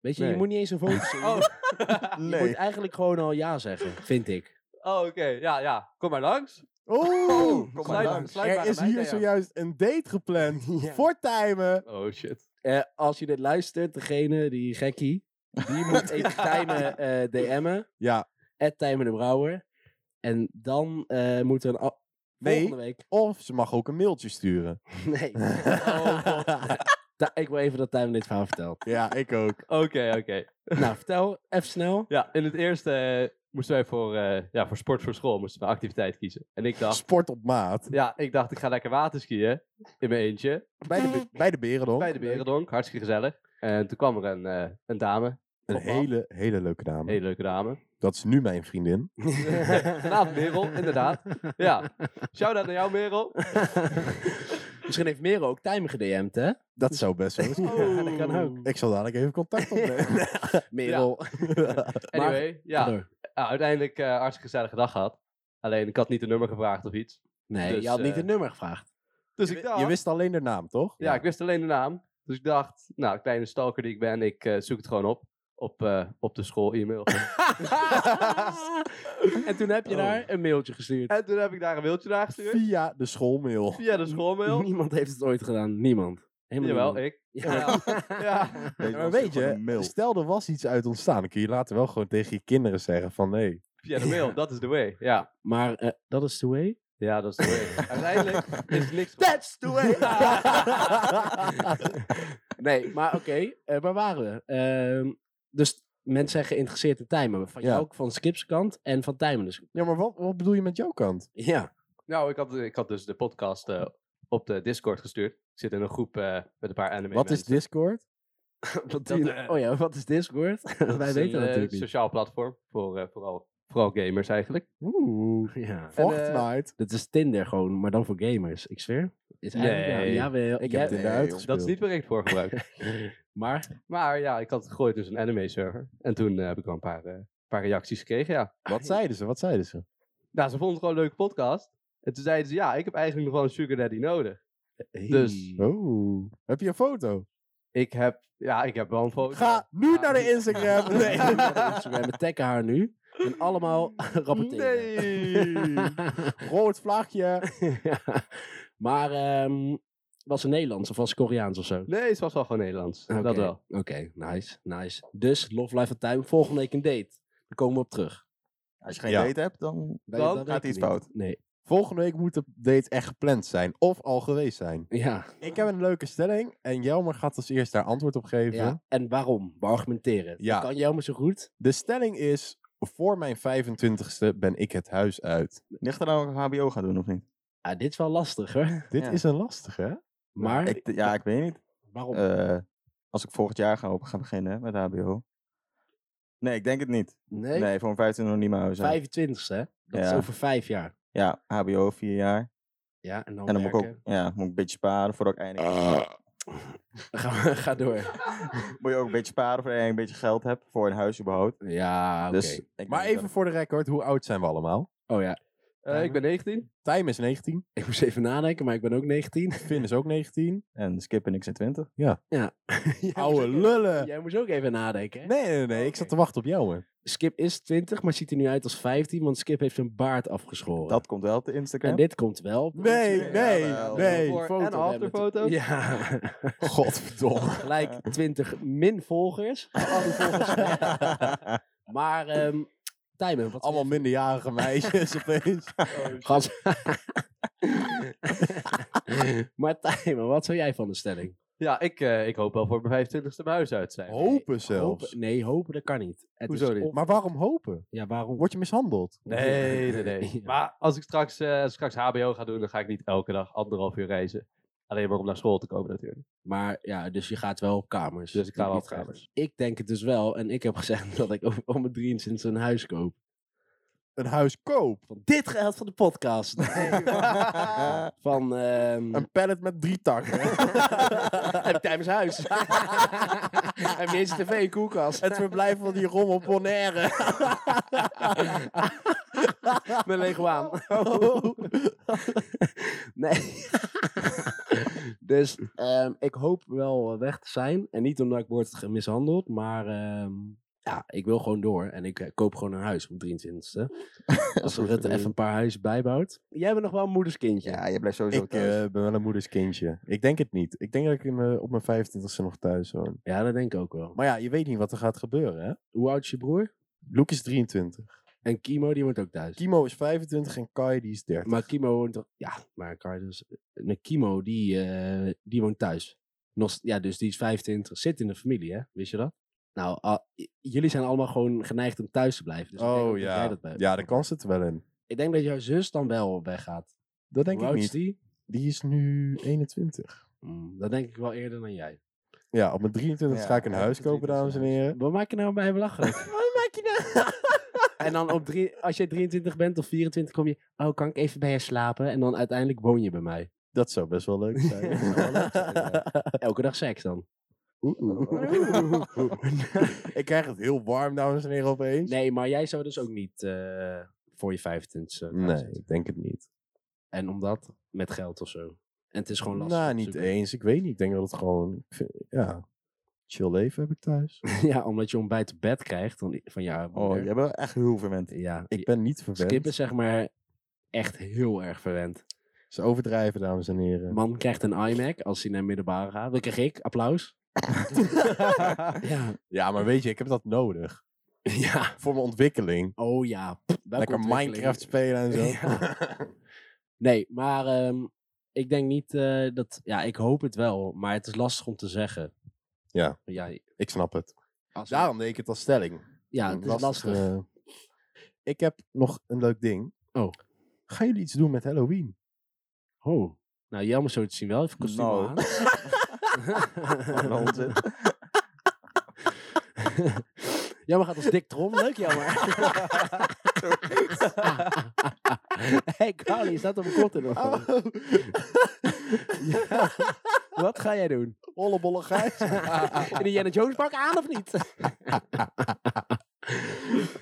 [SPEAKER 2] Weet je, je
[SPEAKER 3] Nee.
[SPEAKER 2] moet niet eens een vote zien.
[SPEAKER 3] Oh,
[SPEAKER 2] Je
[SPEAKER 4] Nee.
[SPEAKER 2] moet eigenlijk gewoon al ja zeggen, vind ik.
[SPEAKER 3] oh oké. Ja, ja. Kom maar langs.
[SPEAKER 1] Oeh!
[SPEAKER 4] Kom maar
[SPEAKER 3] Oh! Sluit-
[SPEAKER 4] langs.
[SPEAKER 3] sluit maar
[SPEAKER 1] Oh! Er
[SPEAKER 3] aan
[SPEAKER 1] is
[SPEAKER 3] mij,
[SPEAKER 1] hier
[SPEAKER 3] Theo.
[SPEAKER 1] zojuist een date gepland
[SPEAKER 2] Ja.
[SPEAKER 1] voor Tijmen.
[SPEAKER 3] Oh shit.
[SPEAKER 2] Eh, als je dit luistert, degene, die gekkie, die moet even Tijmen eh, DM'en.
[SPEAKER 1] Ja,
[SPEAKER 2] At Tijmen de Brouwer. En dan eh moeten we een... a-
[SPEAKER 1] Nee.
[SPEAKER 2] Volgende week.
[SPEAKER 1] of ze mag ook een mailtje sturen.
[SPEAKER 2] Nee. Oh, God. Ti- ik wil even dat Tijmen dit verhaal vertelt.
[SPEAKER 1] ja, ik ook.
[SPEAKER 3] Oké, oké.
[SPEAKER 2] Nou, vertel even snel.
[SPEAKER 3] Ja, in het eerste eh, moesten wij voor, eh, ja, voor sport voor school moesten we een activiteit kiezen. En ik dacht,
[SPEAKER 1] Sport op maat.
[SPEAKER 3] ja, ik dacht, ik ga lekker waterskiën in mijn eentje.
[SPEAKER 1] Bij de, be- bij de Berendonk.
[SPEAKER 3] Bij de Berendonk, hartstikke gezellig. En toen kwam er een, eh, een dame,
[SPEAKER 1] Een hele, hele leuke
[SPEAKER 3] een
[SPEAKER 1] dame.
[SPEAKER 3] hele leuke dame.
[SPEAKER 1] Dat is nu mijn vriendin.
[SPEAKER 3] Vanavond Merel, inderdaad. Ja, shout-out naar jou Merel.
[SPEAKER 2] Misschien heeft Mero ook Tijmen gedm'd, hè?
[SPEAKER 1] Dat zou best wel eens kunnen.
[SPEAKER 2] Ja, dat kan
[SPEAKER 3] Oh.
[SPEAKER 2] ook.
[SPEAKER 1] Ik zal dadelijk even contact opnemen.
[SPEAKER 2] Merel.
[SPEAKER 3] Anyway, ja,
[SPEAKER 2] Hallo.
[SPEAKER 3] nou, uiteindelijk eh hartstikke gezellige dag gehad. Alleen, ik had niet de nummer gevraagd of iets.
[SPEAKER 2] Nee,
[SPEAKER 3] Dus,
[SPEAKER 2] je had niet
[SPEAKER 3] eh,
[SPEAKER 2] het nummer gevraagd.
[SPEAKER 3] Dus ik dacht,
[SPEAKER 1] Je wist alleen de naam, toch?
[SPEAKER 3] ja, ik wist alleen de naam. Dus ik dacht, nou, kleine stalker die ik ben, ik eh, zoek het gewoon op. Op, eh, op de school-e-mail.
[SPEAKER 2] en toen heb je
[SPEAKER 1] Oh.
[SPEAKER 2] daar een mailtje gestuurd.
[SPEAKER 3] En toen heb ik daar een mailtje naar gestuurd.
[SPEAKER 1] Via de schoolmail.
[SPEAKER 3] Via de schoolmail.
[SPEAKER 2] Niemand heeft het ooit gedaan. Niemand. Helemaal
[SPEAKER 3] Jawel,
[SPEAKER 2] niemand.
[SPEAKER 3] ik.
[SPEAKER 2] Ja.
[SPEAKER 3] Ja.
[SPEAKER 4] Deze
[SPEAKER 1] maar
[SPEAKER 4] was
[SPEAKER 1] weet
[SPEAKER 4] gewoon
[SPEAKER 1] je,
[SPEAKER 4] een mail.
[SPEAKER 1] Stel, er was iets uit ontstaan. Dan kun je later wel gewoon tegen je kinderen zeggen van... Nee,
[SPEAKER 3] Via de mail, dat is the way. Ja,
[SPEAKER 2] Maar eh, dat is the way.
[SPEAKER 3] ja dat is the way. Uiteindelijk is niks
[SPEAKER 2] That's the way! nee, maar oké, eh, waar waren we? Ehm, dus mensen zijn geïnteresseerd in Tijmen. Van
[SPEAKER 1] Ja.
[SPEAKER 2] jou ook van Skips kant en van Tijmen dus.
[SPEAKER 1] ja, maar wat, wat bedoel je met jouw kant?
[SPEAKER 2] Ja.
[SPEAKER 3] Nou, ik had, ik had dus de podcast eh, op de Discord gestuurd. Ik zit in een groep eh, met een paar anime
[SPEAKER 1] Wat is
[SPEAKER 3] mensen.
[SPEAKER 1] Discord?
[SPEAKER 2] Wat
[SPEAKER 3] Dat,
[SPEAKER 2] doe je-
[SPEAKER 3] eh,
[SPEAKER 2] oh ja, wat is Discord?
[SPEAKER 3] Dat
[SPEAKER 2] Wij weten
[SPEAKER 3] is
[SPEAKER 2] dat
[SPEAKER 3] een, eh,
[SPEAKER 2] natuurlijk niet.
[SPEAKER 3] sociaal platform voor eh, vooral, vooral gamers eigenlijk.
[SPEAKER 1] Oeh.
[SPEAKER 2] Ja.
[SPEAKER 1] Fortnite.
[SPEAKER 2] Dat is Tinder gewoon, maar dan voor gamers. Ik zweer. Is eigenlijk-
[SPEAKER 3] Nee.
[SPEAKER 2] Ja, jawel,
[SPEAKER 1] Ik
[SPEAKER 2] ja,
[SPEAKER 1] heb het in de
[SPEAKER 4] nee,
[SPEAKER 1] uitgespeeld.
[SPEAKER 3] Dat is niet waar ik het voor gebruik.
[SPEAKER 2] Maar,
[SPEAKER 3] maar ja, ik had het gegooid dus een anime server. En toen eh, heb ik wel een paar, eh, paar reacties gekregen, ja.
[SPEAKER 1] Wat zeiden ze? Wat zeiden ze?
[SPEAKER 3] Nou, ze vonden het gewoon een leuke podcast. En toen zeiden ze, ja, ik heb eigenlijk nog wel een sugar daddy nodig. Dus-
[SPEAKER 2] Hey.
[SPEAKER 1] Oh. Heb je een foto?
[SPEAKER 3] Ik heb, ja, ik heb wel een foto.
[SPEAKER 1] Ga nu
[SPEAKER 3] Ja.
[SPEAKER 1] naar de Instagram.
[SPEAKER 2] Nee.
[SPEAKER 1] Nee.
[SPEAKER 2] Dus We taggen haar nu. En allemaal rapporteren.
[SPEAKER 3] Nee.
[SPEAKER 1] Rood vlagje.
[SPEAKER 2] Ja. Maar ehm, was ze Nederlands of was ze Koreaans of zo?
[SPEAKER 3] nee, ze was wel gewoon Nederlands.
[SPEAKER 2] Oké,
[SPEAKER 3] Dat wel.
[SPEAKER 2] Oké, nice, nice. Dus Love Life at Time, volgende week een date. Daar komen we op terug.
[SPEAKER 4] Als je geen
[SPEAKER 1] Ja.
[SPEAKER 4] date hebt, dan...
[SPEAKER 2] Dan,
[SPEAKER 3] Dan
[SPEAKER 4] gaat
[SPEAKER 2] weet
[SPEAKER 4] iets
[SPEAKER 2] ik niet.
[SPEAKER 4] fout.
[SPEAKER 2] Nee,
[SPEAKER 1] Volgende week moet de date echt gepland zijn. Of al geweest zijn.
[SPEAKER 2] ja.
[SPEAKER 1] Ik heb een leuke stelling. En Jelmer gaat als eerst daar antwoord op geven.
[SPEAKER 2] ja. En waarom? We argumenteren.
[SPEAKER 1] Ja.
[SPEAKER 2] Dat kan jou maar zo goed.
[SPEAKER 1] De stelling is... voor mijn 25ste ben ik het huis uit.
[SPEAKER 4] Ligt er nou ook HBO gaat doen of niet?
[SPEAKER 2] Ja, dit is wel lastig hoor.
[SPEAKER 1] Dit
[SPEAKER 4] Ja.
[SPEAKER 1] is een lastige, hè?
[SPEAKER 2] Maar
[SPEAKER 4] Ik, ja, ik weet niet.
[SPEAKER 2] waarom?
[SPEAKER 4] Eh, als ik volgend jaar ga, op, ga beginnen hè, met HBO. Nee, ik denk het niet.
[SPEAKER 2] nee,
[SPEAKER 4] Nee, voor een 25 nog niet mijn huis uit.
[SPEAKER 2] 25ste hè? Dat is
[SPEAKER 4] Ja.
[SPEAKER 2] over vijf jaar.
[SPEAKER 4] Ja, HBO vier jaar.
[SPEAKER 2] Ja, en dan,
[SPEAKER 4] En dan moet ik ook
[SPEAKER 2] werken.
[SPEAKER 4] ja, moet ik een beetje sparen voordat ik eindelijk...
[SPEAKER 1] Ah.
[SPEAKER 2] Ga, ga door.
[SPEAKER 4] Moet je ook een beetje sparen voordat je een beetje geld hebt voor een huis überhaupt.
[SPEAKER 2] Ja, Ah, oké.
[SPEAKER 4] Dus ik denk
[SPEAKER 1] Maar
[SPEAKER 4] dat-
[SPEAKER 1] even voor de record, hoe oud zijn we allemaal?
[SPEAKER 2] Oh ja,
[SPEAKER 3] Eh, ik ben 19.
[SPEAKER 1] Tijm is 19,
[SPEAKER 2] ik moest even nadenken, maar ik ben ook 19.
[SPEAKER 1] Finn is ook 19.
[SPEAKER 4] En Skip en ik zijn 20.
[SPEAKER 2] Jij moest
[SPEAKER 1] Oude
[SPEAKER 2] ook even-
[SPEAKER 1] lullen!
[SPEAKER 2] Jij moest ook even nadenken. hè?
[SPEAKER 1] Nee, nee, nee, ik zat te wachten op jou, man.
[SPEAKER 2] Skip is 20, maar ziet er nu uit als 15, want Skip heeft zijn baard afgeschoren.
[SPEAKER 4] Dat komt wel te Instagram.
[SPEAKER 2] En dit komt wel.
[SPEAKER 1] Nee,
[SPEAKER 4] Ja,
[SPEAKER 1] nee,
[SPEAKER 4] wel.
[SPEAKER 1] nee.
[SPEAKER 3] Voor-
[SPEAKER 2] Foto
[SPEAKER 3] en
[SPEAKER 2] hebben we
[SPEAKER 3] afterfoto.
[SPEAKER 2] te- Ja,
[SPEAKER 1] Godverdomme.
[SPEAKER 2] gelijk 20 min volgers. Al die volgers weg. Maar, ehm Tijmen, wat
[SPEAKER 1] Allemaal minderjarige meisjes opeens.
[SPEAKER 2] Gas. maar Tijmen, wat zou jij van de stelling?
[SPEAKER 3] Ja, ik, eh, ik hoop wel voor mijn 25ste mijn huis uit te
[SPEAKER 2] Oh,
[SPEAKER 3] zijn.
[SPEAKER 1] Hopen zelfs.
[SPEAKER 2] Hopen- nee, hopen dat kan niet. Het
[SPEAKER 3] Hoezo
[SPEAKER 2] is
[SPEAKER 3] niet?
[SPEAKER 2] of-
[SPEAKER 1] Maar waarom hopen?
[SPEAKER 2] ja, waarom?
[SPEAKER 1] Word je mishandeld?
[SPEAKER 3] Nee, nee, nee.
[SPEAKER 2] Ja.
[SPEAKER 3] Maar als ik, straks, eh, als ik straks HBO ga doen, dan ga ik niet elke dag anderhalf uur reizen. Alleen maar om naar school te komen natuurlijk.
[SPEAKER 2] Maar ja, dus je gaat wel op kamers.
[SPEAKER 3] Dus ik ga
[SPEAKER 2] Niet-
[SPEAKER 3] wel op
[SPEAKER 2] niet echt.
[SPEAKER 3] kamers.
[SPEAKER 2] Ik denk het dus wel. En ik heb gezegd dat ik over- om mijn 23 een huis koop.
[SPEAKER 1] Een huis koop.
[SPEAKER 2] Van dit geld van de podcast. Van ehm
[SPEAKER 1] Een pallet met drie takken.
[SPEAKER 2] heb ik tijdens huis. en minst tv, koelkast.
[SPEAKER 1] Het verblijf van die rommel Bonaire.
[SPEAKER 2] Mijn leguaan. nee. dus ehm, ik hoop wel eh, weg te zijn. En niet omdat ik word mishandeld, maar ehm, ja, ik wil gewoon door. En ik eh, koop gewoon een huis op 23e. Als
[SPEAKER 4] goed
[SPEAKER 2] Rutte even
[SPEAKER 4] idee.
[SPEAKER 2] een paar huizen bijbouwt. Jij bent nog wel een moederskindje.
[SPEAKER 4] Ja, je blijft sowieso
[SPEAKER 1] Ik
[SPEAKER 4] thuis.
[SPEAKER 1] eh, ben wel een moederskindje. Ik denk het niet. Ik denk dat ik in mijn- op mijn 25ste nog thuis woon.
[SPEAKER 2] Ja, dat denk ik ook wel. Maar
[SPEAKER 1] Maar ja, je weet niet wat er gaat gebeuren, hè?
[SPEAKER 2] hoe oud is je broer?
[SPEAKER 1] Luke is 23.
[SPEAKER 2] En Kimo, die wordt ook thuis.
[SPEAKER 1] Kimo is 25 en Kai die is 30.
[SPEAKER 2] Maar Kimo woont toch... Ja, maar Kai dus... Nee, Kimo, die, eh, die woont thuis. Nog, s- ja, dus die is 25. Zit in de familie, hè? Wist je dat? Nou, ah, j- jullie zijn allemaal gewoon geneigd om thuis te blijven. Dus ik denk ook
[SPEAKER 1] oh
[SPEAKER 2] dat jij
[SPEAKER 1] ja.
[SPEAKER 2] dat bent.
[SPEAKER 1] ja, de kans zit er wel in.
[SPEAKER 2] Ik denk dat jouw zus dan wel weggaat.
[SPEAKER 1] Dat denk
[SPEAKER 2] Hoe
[SPEAKER 1] ik
[SPEAKER 2] oud is
[SPEAKER 1] niet.
[SPEAKER 2] die?
[SPEAKER 1] Die is nu 21.
[SPEAKER 2] Mm, dat denk ik wel eerder dan jij.
[SPEAKER 1] Ja, op mijn 23
[SPEAKER 4] Ja,
[SPEAKER 1] ga ik een
[SPEAKER 4] ja,
[SPEAKER 1] huis
[SPEAKER 4] op je
[SPEAKER 1] kopen, dames en
[SPEAKER 4] 23ste
[SPEAKER 1] heren.
[SPEAKER 2] Wat maak je nou bij belachelijk?
[SPEAKER 1] Wat maak je nou?
[SPEAKER 2] en dan op drie, als jij 23 bent of 24 kom je... Oh, kan ik even bij je slapen? En dan uiteindelijk woon je bij mij.
[SPEAKER 1] Dat zou best wel leuk zijn.
[SPEAKER 2] Dat zou wel leuk zijn, ja. Elke dag seks dan.
[SPEAKER 1] Oeh, oeh, oeh, oeh. ik krijg het heel warm, dames en heren, opeens.
[SPEAKER 2] Nee, maar jij zou dus ook niet eh, voor je 25
[SPEAKER 1] Nee, ik denk het niet.
[SPEAKER 2] En omdat? Met geld of zo. En het is gewoon lastig.
[SPEAKER 1] Nou,
[SPEAKER 2] om te
[SPEAKER 1] niet
[SPEAKER 2] zoeken.
[SPEAKER 1] eens. Ik weet niet. Ik denk dat het gewoon... ik vind- Ja, chill leven heb ik thuis.
[SPEAKER 2] ja, omdat je ontbijt op bed krijgt dan, van jou.
[SPEAKER 4] Oh, jij bent wel echt heel verwend.
[SPEAKER 2] Ja.
[SPEAKER 1] Ik ben niet verwend.
[SPEAKER 2] Skip is zeg maar echt heel erg verwend.
[SPEAKER 1] Ze overdrijven, dames en heren.
[SPEAKER 2] Man krijgt een iMac als hij naar middelbare gaat. Dat krijg ik. Applaus. ja.
[SPEAKER 1] Ja, maar weet je, ik heb dat nodig.
[SPEAKER 2] ja.
[SPEAKER 1] Voor mijn ontwikkeling.
[SPEAKER 2] Oh ja. Pff, welke
[SPEAKER 1] Lekker
[SPEAKER 2] ontwikkeling.
[SPEAKER 1] Minecraft spelen en zo.
[SPEAKER 2] Ja. Nee, maar ehm, ik denk niet eh, dat... Ja, ik hoop het wel. Maar het is lastig om te zeggen.
[SPEAKER 1] Ja. Nou,
[SPEAKER 2] Ja,
[SPEAKER 1] Ik snap het.
[SPEAKER 2] als-
[SPEAKER 1] Daarom deed ik het als stelling.
[SPEAKER 2] ja
[SPEAKER 1] Een
[SPEAKER 2] het is lastig.
[SPEAKER 4] eh?
[SPEAKER 1] lastige- Ik heb nog een leuk ding.
[SPEAKER 2] Oh.
[SPEAKER 1] Gaan jullie iets doen met Halloween?
[SPEAKER 2] Oh. Nou, jammer zo te zien wel. Even kostuum
[SPEAKER 4] Nou.
[SPEAKER 2] aan.
[SPEAKER 4] Wat een onzin.
[SPEAKER 2] jammer gaat als dik Trom. Leuk jammer. hey Carly, je staat op mijn kont in dat
[SPEAKER 4] Oh.
[SPEAKER 2] geval. Ja. Wat ga jij doen?
[SPEAKER 1] Hollebolle gijs.
[SPEAKER 4] Ah,
[SPEAKER 2] In de Janet Jones pak aan of niet?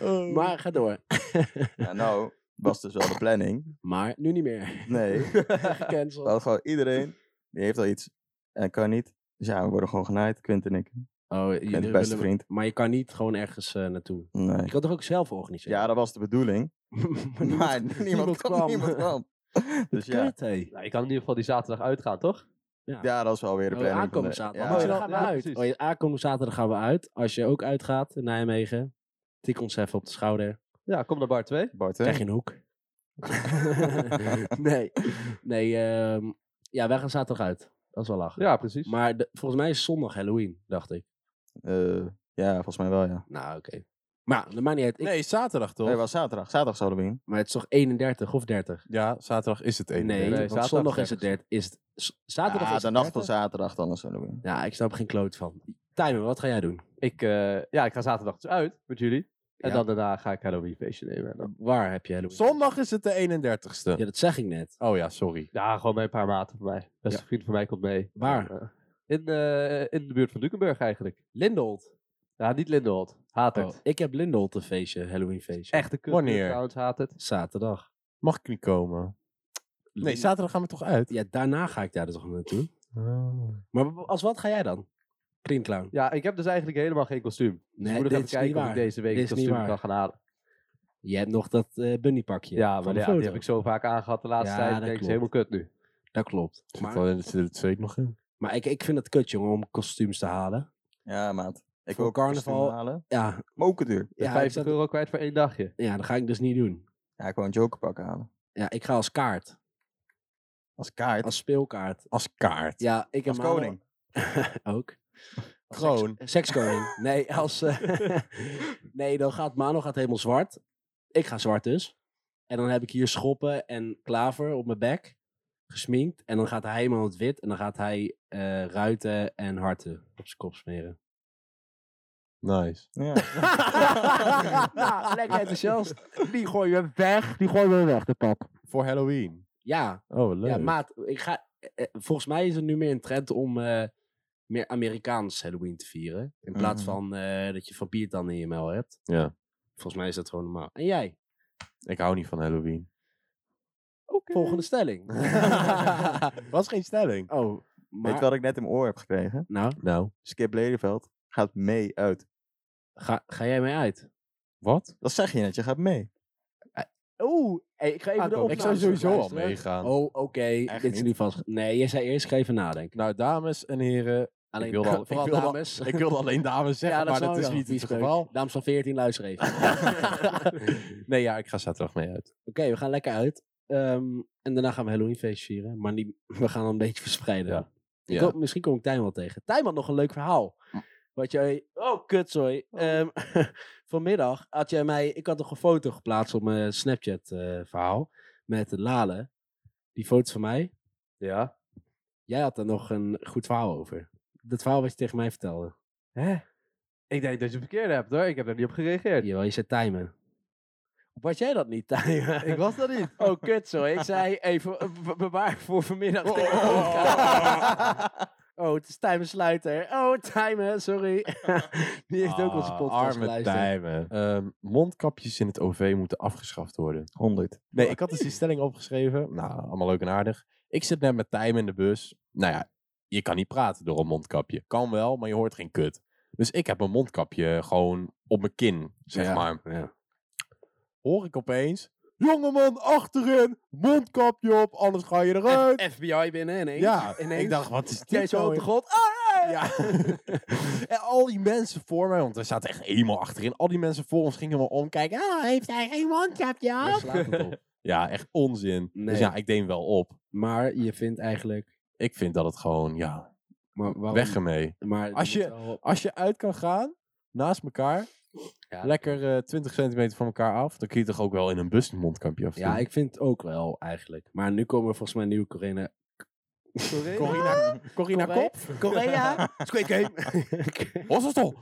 [SPEAKER 1] Oh.
[SPEAKER 2] maar ga door.
[SPEAKER 4] Ja, nou, was dus wel de planning.
[SPEAKER 2] Maar nu niet meer.
[SPEAKER 4] Nee, we
[SPEAKER 2] Gecanceld.
[SPEAKER 4] hadden gewoon iedereen, die heeft al iets en kan niet. Dus ja, we worden gewoon genaaid, Quint en ik.
[SPEAKER 2] Oh, jullie
[SPEAKER 4] Quint,
[SPEAKER 2] willen
[SPEAKER 4] beste
[SPEAKER 2] we-
[SPEAKER 4] vriend.
[SPEAKER 2] Maar je kan niet gewoon ergens eh, naartoe.
[SPEAKER 4] Nee.
[SPEAKER 2] Je kan toch ook zelf organiseren?
[SPEAKER 4] Ja, dat was de bedoeling.
[SPEAKER 2] maar
[SPEAKER 4] Maar
[SPEAKER 2] niemand-
[SPEAKER 4] niemand, kwam. Niemand kwam. Dus ja,
[SPEAKER 2] Kut, hé.
[SPEAKER 3] Nou, je kan in ieder geval die zaterdag uitgaan, toch?
[SPEAKER 4] ja, dat is wel weer de
[SPEAKER 2] Oh,
[SPEAKER 4] planning. van
[SPEAKER 2] aankomende
[SPEAKER 4] de-
[SPEAKER 2] zaterdag.
[SPEAKER 4] ja.
[SPEAKER 2] Maar
[SPEAKER 3] ja.
[SPEAKER 2] dan gaan we
[SPEAKER 3] Ja,
[SPEAKER 2] uit.
[SPEAKER 3] precies.
[SPEAKER 2] Oh, ja, aankomende zaterdag gaan we uit. Als je ook uitgaat in Nijmegen, tik ons even op de schouder.
[SPEAKER 3] Ja, kom naar bar 2.
[SPEAKER 4] Bart,
[SPEAKER 2] Krijg
[SPEAKER 4] hè?
[SPEAKER 2] je een hoek. nee. Nee, ehm, ja, wij gaan zaterdag uit. Dat is wel lachen.
[SPEAKER 3] Ja, precies.
[SPEAKER 2] Maar de- volgens mij is zondag Halloween, dacht ik.
[SPEAKER 4] Eh, ja, volgens mij wel, ja.
[SPEAKER 2] Nou, oké. Maar ja, dat maakt niet uit. Ik-
[SPEAKER 1] Nee, zaterdag toch?
[SPEAKER 4] Nee, het was zaterdag. Zaterdag zouden we in.
[SPEAKER 2] Maar het is toch 31 of 30?
[SPEAKER 1] Ja, zaterdag is het
[SPEAKER 2] Nee,
[SPEAKER 1] 31.
[SPEAKER 3] nee,
[SPEAKER 2] want
[SPEAKER 3] zaterdag
[SPEAKER 2] zondag is het
[SPEAKER 3] 30.
[SPEAKER 2] 30. Is het, s- zaterdag
[SPEAKER 4] ja,
[SPEAKER 2] is
[SPEAKER 4] de
[SPEAKER 2] het
[SPEAKER 4] nacht van
[SPEAKER 2] 30.
[SPEAKER 4] zaterdag dan is Halloween.
[SPEAKER 2] Ja, ik snap er geen kloot van. Timer, wat ga jij doen?
[SPEAKER 3] Ik, eh, ja, ik ga zaterdag dus uit met jullie. En
[SPEAKER 2] Ja.
[SPEAKER 3] dan daarna ga ik Halloween feestje nemen. En dan,
[SPEAKER 2] Waar heb je Halloween?
[SPEAKER 1] Zondag is het de 31ste.
[SPEAKER 2] Ja, dat zeg ik net.
[SPEAKER 1] Oh ja, sorry.
[SPEAKER 3] ja, gewoon bij een paar maten van mij. Beste vriend van mij komt mee.
[SPEAKER 2] Waar?
[SPEAKER 3] En, eh, in, eh, in de buurt van Dukenburg eigenlijk.
[SPEAKER 2] Lindolt.
[SPEAKER 3] Ja, niet Lindenholt. Haat het.
[SPEAKER 2] Oh, ik heb Lindolt een feestje, Halloween feestje.
[SPEAKER 3] Echte kut
[SPEAKER 1] Wanneer?
[SPEAKER 3] trouwens, haat het.
[SPEAKER 2] Zaterdag.
[SPEAKER 1] Mag ik niet komen? Nee,
[SPEAKER 2] Lind-
[SPEAKER 1] zaterdag gaan we toch uit?
[SPEAKER 2] Ja, daarna ga ik daar dus nog naartoe.
[SPEAKER 3] Oh.
[SPEAKER 2] Maar w- als wat ga jij dan? Clean Clown.
[SPEAKER 3] Ja, ik heb dus eigenlijk helemaal geen kostuum. Dus
[SPEAKER 2] Nee,
[SPEAKER 3] ik moet
[SPEAKER 2] dit
[SPEAKER 3] nog
[SPEAKER 2] is
[SPEAKER 3] even
[SPEAKER 2] niet
[SPEAKER 3] kijken of ik
[SPEAKER 2] waar.
[SPEAKER 3] deze week
[SPEAKER 2] Dit
[SPEAKER 3] een
[SPEAKER 2] is niet
[SPEAKER 3] kostuum
[SPEAKER 2] waar.
[SPEAKER 3] kan gaan halen.
[SPEAKER 2] Je hebt nog dat eh bunnypakje.
[SPEAKER 3] Ja,
[SPEAKER 2] van
[SPEAKER 3] maar
[SPEAKER 2] de
[SPEAKER 3] ja, die
[SPEAKER 2] foto.
[SPEAKER 3] heb ik zo vaak aangehad de laatste
[SPEAKER 2] Ja,
[SPEAKER 3] tijd. Ik
[SPEAKER 2] dat
[SPEAKER 3] denk, het is
[SPEAKER 2] klopt.
[SPEAKER 3] helemaal kut nu.
[SPEAKER 2] Dat klopt.
[SPEAKER 1] Maar...
[SPEAKER 2] Maar,
[SPEAKER 1] zit het zweet nog in.
[SPEAKER 2] maar ik, ik vind het kut, jongen, om kostuums te halen.
[SPEAKER 4] Ja, maat. Ik
[SPEAKER 2] Voor
[SPEAKER 4] wil ook een kostuum
[SPEAKER 2] carnaval-
[SPEAKER 4] halen.
[SPEAKER 2] Ja,
[SPEAKER 4] Maar ook het duur.
[SPEAKER 3] Ja,
[SPEAKER 2] ja, ik
[SPEAKER 3] 50
[SPEAKER 2] zat-
[SPEAKER 3] euro kwijt voor één dagje.
[SPEAKER 2] ja, dat ga ik dus niet doen.
[SPEAKER 4] Ja, gewoon jokerpak halen.
[SPEAKER 2] Ja, ik ga als kaart.
[SPEAKER 4] Als kaart. Als,
[SPEAKER 2] Als speelkaart.
[SPEAKER 1] Als kaart.
[SPEAKER 2] Ja, ik en Mano-
[SPEAKER 4] koning.
[SPEAKER 2] ook.
[SPEAKER 1] Kroon.
[SPEAKER 2] Seks- eh, Sekskoning. Nee, als, eh, nee, dan gaat Mano gaat helemaal zwart. Ik ga zwart dus. En dan heb ik hier schoppen en klaver op mijn bek. Gesminkt. En dan gaat hij helemaal in het wit. En dan gaat hij eh, ruiten en harten op zijn kop smeren.
[SPEAKER 1] Nice.
[SPEAKER 4] Ja.
[SPEAKER 2] nou, lekker enthousiast. Die gooi je weg. Die gooi je weg, de pap.
[SPEAKER 1] Voor Halloween.
[SPEAKER 2] Ja,
[SPEAKER 1] Oh, wat leuk.
[SPEAKER 2] ja maat. Ik ga, eh, eh, volgens mij is het nu meer een trend om eh, meer Amerikaans Halloween te vieren. In plaats
[SPEAKER 4] Mhm.
[SPEAKER 2] van eh, dat je vampiertanden in je mel hebt.
[SPEAKER 1] Mm-hmm. Ja.
[SPEAKER 2] Volgens mij is dat gewoon normaal. En jij?
[SPEAKER 1] Ik hou niet van Halloween.
[SPEAKER 2] Volgende stelling.
[SPEAKER 1] Was geen stelling.
[SPEAKER 2] oh, maar...
[SPEAKER 4] Weet je wat ik net in mijn oor heb gekregen?
[SPEAKER 2] Nou,
[SPEAKER 1] Nou,
[SPEAKER 4] Skip Lelyveld gaat mee uit.
[SPEAKER 2] ga, ga jij mee uit?
[SPEAKER 1] wat?
[SPEAKER 4] Dat zeg je net, je gaat mee.
[SPEAKER 2] Oeh, hey, ik ga even
[SPEAKER 3] Ah,
[SPEAKER 2] de
[SPEAKER 1] Ik
[SPEAKER 3] kom.
[SPEAKER 2] opnames
[SPEAKER 1] zou sowieso al
[SPEAKER 2] terugluisteren.
[SPEAKER 1] meegaan.
[SPEAKER 2] Oh, oké. Dit is
[SPEAKER 4] niet.
[SPEAKER 2] nu vast... Nee, jij zei eerst, ga even nadenken.
[SPEAKER 1] Nou, dames en heren.
[SPEAKER 2] Alleen,
[SPEAKER 1] wilde al- ik
[SPEAKER 2] vooral
[SPEAKER 1] wilde al-
[SPEAKER 2] dames.
[SPEAKER 1] Ik wilde alleen dames zeggen, maar
[SPEAKER 2] snap
[SPEAKER 1] dat
[SPEAKER 2] ik
[SPEAKER 1] is
[SPEAKER 2] wel.
[SPEAKER 1] niet
[SPEAKER 2] Vies
[SPEAKER 1] het
[SPEAKER 2] peuk.
[SPEAKER 1] geval.
[SPEAKER 2] Dames van 14, luister even.
[SPEAKER 1] nee, ja, ik ga zaterdag mee uit.
[SPEAKER 2] Oké, we gaan lekker uit. Ehm, en daarna gaan we Halloween feest vieren. Maar niet, we gaan dan een beetje verspreiden.
[SPEAKER 1] Ja.
[SPEAKER 2] Ik
[SPEAKER 1] Ja. Hm.
[SPEAKER 2] Hoop, misschien kom ik Tijn wel tegen. Tijn had nog een leuk verhaal. Wat jij... Oh, kut, sorry. Ehm, vanmiddag had jij mij... Ik had nog een foto geplaatst op mijn Snapchat eh, verhaal. Met Lale. Die foto van mij.
[SPEAKER 3] Ja.
[SPEAKER 2] Jij had daar nog een goed verhaal over. Dat verhaal wat je tegen mij vertelde.
[SPEAKER 3] Hè? Ik denk dat je het verkeerd hebt hoor. Ik heb er niet op gereageerd.
[SPEAKER 2] Jawel, je zei timen. Was jij dat niet, timen?
[SPEAKER 3] Ik was dat niet.
[SPEAKER 2] Oh, kut zo. Ik zei even eh, be- bewaar voor vanmiddag.
[SPEAKER 1] Oh,
[SPEAKER 2] Oh,
[SPEAKER 1] oh, oh,
[SPEAKER 2] het is Tijmen Sluiter. Oh, Tijmen, sorry. Die heeft ook onze
[SPEAKER 1] Ah,
[SPEAKER 2] podcast
[SPEAKER 1] arme
[SPEAKER 2] geluisterd.
[SPEAKER 1] Tijmen. Ehm, mondkapjes in het OV moeten afgeschaft worden.
[SPEAKER 4] 100.
[SPEAKER 1] Nee, ik had dus die stelling opgeschreven. Nou, allemaal leuk en aardig. Ik zit net met Tijm in de bus. Nou ja, je kan niet praten door een mondkapje. Kan wel, maar je hoort geen kut. Dus ik heb mijn mondkapje gewoon op mijn kin, zeg
[SPEAKER 2] Ja,
[SPEAKER 1] maar.
[SPEAKER 2] ja.
[SPEAKER 1] Hoor ik opeens... Jongeman, achterin, mondkapje op, anders ga je eruit.
[SPEAKER 2] F- FBI binnen ineens.
[SPEAKER 1] ja,
[SPEAKER 2] ineens.
[SPEAKER 1] ik dacht, wat is dit
[SPEAKER 2] Jij zo
[SPEAKER 1] nou
[SPEAKER 2] op de
[SPEAKER 1] weer?
[SPEAKER 2] grond. Ah, ah, ah.
[SPEAKER 1] Ja. en al die mensen voor mij, want er zaten echt eenmaal achterin. Al die mensen voor ons gingen helemaal omkijken. Oh, heeft hij geen mondkapje
[SPEAKER 2] Daar
[SPEAKER 1] op?
[SPEAKER 2] slaat het op.
[SPEAKER 1] Ja, echt onzin.
[SPEAKER 2] Nee.
[SPEAKER 1] Dus ja, ik deed hem wel op.
[SPEAKER 2] Maar je vindt eigenlijk...
[SPEAKER 1] Ik vind dat het gewoon, ja,
[SPEAKER 2] Maar waarom-
[SPEAKER 1] weg ermee.
[SPEAKER 2] Maar
[SPEAKER 1] Als
[SPEAKER 2] moet
[SPEAKER 1] je-
[SPEAKER 2] wel-
[SPEAKER 1] Als je uit kan gaan, naast elkaar,
[SPEAKER 2] Ja.
[SPEAKER 1] lekker eh, 20 centimeter van elkaar af, dan kun je toch ook wel in een bus een mondkapje af.
[SPEAKER 2] Ja, ik vind het ook wel eigenlijk. Maar nu komen er volgens mij nieuwe Corina...
[SPEAKER 3] Sorry.
[SPEAKER 1] Corina, Corina
[SPEAKER 2] Corrie-
[SPEAKER 1] Kop?
[SPEAKER 2] Corina! Squid Game!
[SPEAKER 1] Hosselstol!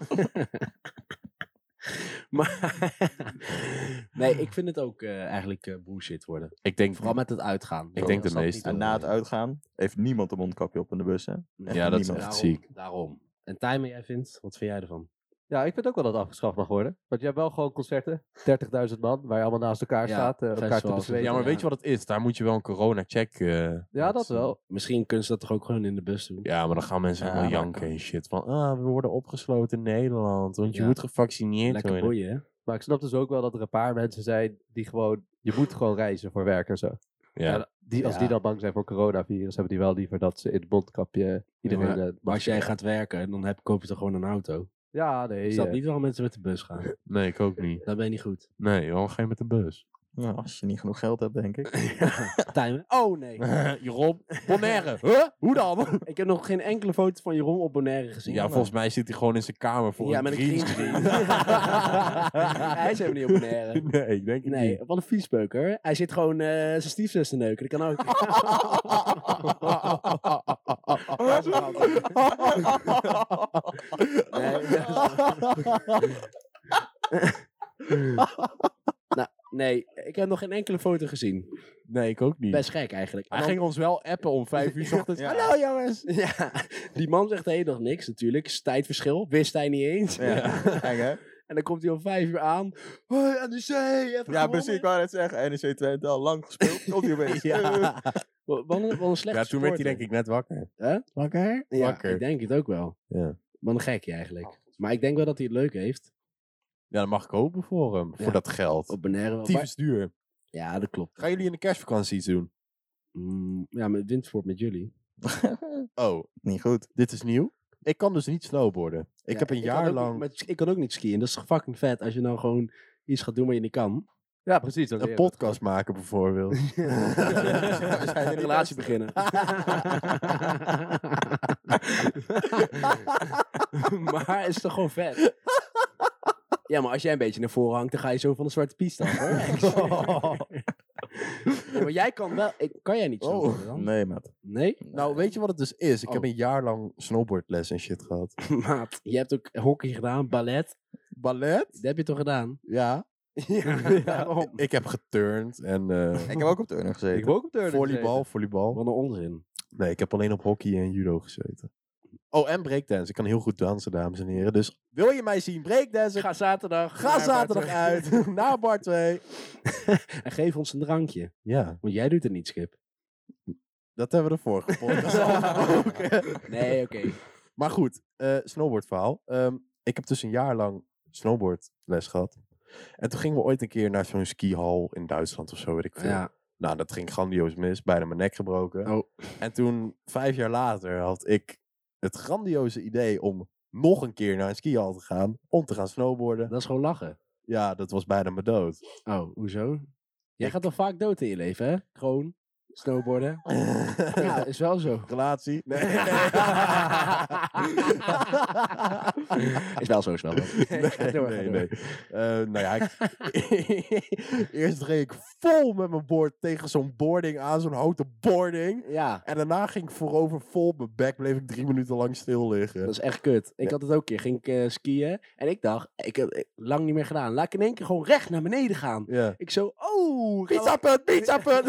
[SPEAKER 2] Maar nee, ik vind het ook eh, eigenlijk eh, bullshit worden.
[SPEAKER 1] Ik denk,
[SPEAKER 2] Vooral met het uitgaan.
[SPEAKER 1] Ik denk de
[SPEAKER 2] Als dat
[SPEAKER 1] meeste.
[SPEAKER 2] niet
[SPEAKER 4] En na het
[SPEAKER 2] wil,
[SPEAKER 4] uitgaan heeft niemand een mondkapje op in de bus, hè?
[SPEAKER 2] dan-
[SPEAKER 1] Ja, dat is
[SPEAKER 4] niemand.
[SPEAKER 1] echt
[SPEAKER 2] daarom,
[SPEAKER 1] ziek.
[SPEAKER 2] Daarom. En Tijmen, jij vindt, wat vind jij ervan?
[SPEAKER 3] Ja, ik vind ook wel dat het afgeschaft mag worden. Want je hebt wel gewoon concerten. 30.000 man, waar je allemaal naast elkaar
[SPEAKER 2] Ja,
[SPEAKER 3] staat. eh, elkaar te
[SPEAKER 2] festivals.
[SPEAKER 3] bezweken.
[SPEAKER 1] Ja, maar weet je wat het is? Daar moet je wel een corona-check... eh,
[SPEAKER 3] Ja, dat wel.
[SPEAKER 2] Misschien kunnen ze dat toch ook gewoon in de bus doen?
[SPEAKER 1] ja, maar dan gaan mensen
[SPEAKER 4] Ja,
[SPEAKER 2] Ah,
[SPEAKER 1] helemaal
[SPEAKER 4] maar-
[SPEAKER 1] janken en shit. Van, ah, we worden opgesloten in Nederland, want je
[SPEAKER 2] Ja.
[SPEAKER 1] moet gevaccineerd
[SPEAKER 2] Lekker
[SPEAKER 1] worden.
[SPEAKER 2] boeien, hè?
[SPEAKER 3] Maar ik snap dus ook wel dat er een paar mensen zijn die gewoon... Je moet gewoon reizen voor werk en zo.
[SPEAKER 1] Ja.
[SPEAKER 3] Ja, die, als
[SPEAKER 2] Ja.
[SPEAKER 3] die dan bang zijn voor coronavirus, hebben die wel liever dat ze in het mondkapje iedereen...
[SPEAKER 2] maar
[SPEAKER 3] eh,
[SPEAKER 2] Maar als
[SPEAKER 3] masker-
[SPEAKER 2] jij gaat werken, dan heb, koop je toch gewoon een auto?
[SPEAKER 3] Ja, nee.
[SPEAKER 2] Ik snap
[SPEAKER 3] eh,
[SPEAKER 2] niet waarom mensen met de bus gaan.
[SPEAKER 1] Nee, ik ook niet.
[SPEAKER 2] Dat ben je niet goed.
[SPEAKER 1] Nee, waarom ga je met de bus?
[SPEAKER 4] Nou, als je niet genoeg geld hebt, denk ik.
[SPEAKER 2] Timen. Oh nee.
[SPEAKER 1] Jeroen, Bonaire. Huh? Hoe dan?
[SPEAKER 2] Ik heb nog geen enkele foto van Jeroen op Bonaire gezien.
[SPEAKER 1] Ja,
[SPEAKER 2] maar-
[SPEAKER 1] volgens mij zit hij gewoon in zijn kamer voor
[SPEAKER 2] ja,
[SPEAKER 1] een
[SPEAKER 2] met een green
[SPEAKER 1] green
[SPEAKER 2] screen.
[SPEAKER 1] screen.
[SPEAKER 2] Hij is helemaal niet op Bonaire.
[SPEAKER 1] Nee, ik denk het
[SPEAKER 2] Nee,
[SPEAKER 1] niet.
[SPEAKER 2] wat een viespeuker. Hij zit gewoon eh zijn stiefzus te neuken. Dat kan ook.
[SPEAKER 4] Oh,
[SPEAKER 2] nee, nou, nee, ik heb nog geen enkele foto gezien.
[SPEAKER 1] Nee, ik ook niet.
[SPEAKER 2] Best gek eigenlijk. En
[SPEAKER 1] Hij
[SPEAKER 2] dan-
[SPEAKER 1] ging ons wel appen om vijf uur 's ochtends.
[SPEAKER 4] Ja.
[SPEAKER 1] Hallo jongens!
[SPEAKER 2] Ja, die man zegt de hele dag niks natuurlijk. Is Tijdverschil, wist hij niet eens.
[SPEAKER 4] Ja, eng, hè?
[SPEAKER 2] En dan komt hij om vijf uur aan. Hoi, aan de zee! even
[SPEAKER 4] Ja,
[SPEAKER 2] gewonnen.
[SPEAKER 4] precies. Ik wou net zeggen, NEC Twente al lang gespeeld. Komt hier opeens.
[SPEAKER 2] Ja. Wat wat een, wat een slechte
[SPEAKER 1] Ja, toen werd hij
[SPEAKER 2] supporter.
[SPEAKER 1] denk ik net wakker.
[SPEAKER 2] Hè?
[SPEAKER 1] Wakker?
[SPEAKER 2] Ja, ik
[SPEAKER 1] Wakker.
[SPEAKER 2] denk het ook wel.
[SPEAKER 1] Ja. Oh.
[SPEAKER 2] Wat een gekje eigenlijk. Maar ik denk wel dat hij het leuk heeft.
[SPEAKER 1] Ja, dat mag ik hopen voor hem.
[SPEAKER 2] Ja.
[SPEAKER 1] Voor dat geld.
[SPEAKER 2] Op Bonaire wel.
[SPEAKER 1] Tyfus duur.
[SPEAKER 2] Maar- Ja, dat klopt.
[SPEAKER 1] Gaan jullie in de kerstvakantie iets doen?
[SPEAKER 2] Mm, ja, met Windvoort met jullie.
[SPEAKER 1] Oh,
[SPEAKER 4] Niet goed.
[SPEAKER 1] dit is nieuw. Ik kan dus niet snowboarden. Ik
[SPEAKER 2] Ja,
[SPEAKER 1] heb een
[SPEAKER 2] kan
[SPEAKER 1] jaar
[SPEAKER 2] ook niet-
[SPEAKER 1] lang
[SPEAKER 2] maar ik kan ook niet skiën. Dat is toch fucking vet als je nou gewoon iets gaat doen waar je niet kan.
[SPEAKER 3] Ja, precies. Dan
[SPEAKER 1] een podcast maken bijvoorbeeld.
[SPEAKER 2] Dus
[SPEAKER 4] we zijn er
[SPEAKER 2] een
[SPEAKER 4] niet
[SPEAKER 2] relatie
[SPEAKER 4] best.
[SPEAKER 2] beginnen. maar het is toch gewoon vet? Ja, maar als jij een beetje naar voren hangt, dan ga je zo van de zwarte piet af, hoor. Ja, maar jij kan wel... Ik, kan jij niet zo
[SPEAKER 1] Oh,
[SPEAKER 2] worden dan?
[SPEAKER 4] Nee, maat.
[SPEAKER 2] Nee?
[SPEAKER 1] nou, weet je wat het dus is? Ik
[SPEAKER 2] Oh.
[SPEAKER 1] heb een jaar lang snowboardles en shit gehad.
[SPEAKER 2] Maat, je hebt ook hockey gedaan, ballet.
[SPEAKER 1] Ballet?
[SPEAKER 2] Dat heb je toch gedaan?
[SPEAKER 1] Ja.
[SPEAKER 2] Ja, oh, waarom?
[SPEAKER 1] Ik heb geturnd en eh,
[SPEAKER 4] Ik heb ook op turner gezeten.
[SPEAKER 3] Ik heb ook op turnen
[SPEAKER 1] volleybal, volleybal.
[SPEAKER 2] Wat een onzin.
[SPEAKER 1] Nee, ik heb alleen op hockey en judo gezeten. Oh, en breakdance. Ik kan heel goed dansen, dames en heren. Dus wil je mij zien breakdansen? Ga,
[SPEAKER 2] Ga zaterdag.
[SPEAKER 1] zaterdag uit naar Bar 2.
[SPEAKER 2] En geef ons een drankje.
[SPEAKER 1] Ja,
[SPEAKER 2] Want jij doet het niet, Skip.
[SPEAKER 1] dat hebben we ervoor gevonden.
[SPEAKER 2] Nee, oké.
[SPEAKER 1] maar goed, eh snowboardverhaal. Ehm, ik heb dus een jaar lang snowboardles gehad. En toen gingen we ooit een keer naar zo'n skihal in Duitsland of zo, weet ik veel.
[SPEAKER 2] Ja.
[SPEAKER 1] Nou, dat ging grandioos mis. Bijna mijn nek gebroken.
[SPEAKER 2] Oh.
[SPEAKER 1] En toen, vijf jaar later, had ik het grandioze idee om nog een keer naar een skihal te gaan. Om te gaan snowboarden.
[SPEAKER 2] Dat is gewoon lachen.
[SPEAKER 1] Ja, dat was bijna mijn dood.
[SPEAKER 2] Oh, hoezo? Jij gaat toch vaak dood in je leven, hè? Gewoon snowboarden. Ja, is wel zo.
[SPEAKER 1] Relatie? Nee.
[SPEAKER 2] Is wel zo, is wel zo. Ga
[SPEAKER 1] Nee,
[SPEAKER 2] door, ga
[SPEAKER 1] nee,
[SPEAKER 2] door.
[SPEAKER 1] nee. Eh, nou ja, ik- eerst reed ik vol met mijn board tegen zo'n boarding aan, zo'n houten boarding.
[SPEAKER 2] Ja,
[SPEAKER 1] En daarna ging ik voorover vol op mijn bek, bleef ik drie minuten lang stil liggen.
[SPEAKER 2] dat is echt kut. Ik
[SPEAKER 1] Ja.
[SPEAKER 2] had het ook een keer. Ging ik eh, skiën. En ik dacht, ik heb eh, lang niet meer gedaan. Laat ik in één keer gewoon recht naar beneden gaan.
[SPEAKER 1] Ja.
[SPEAKER 2] Ik zo, oh. gaan we-
[SPEAKER 1] Pizza punt, pizza punt!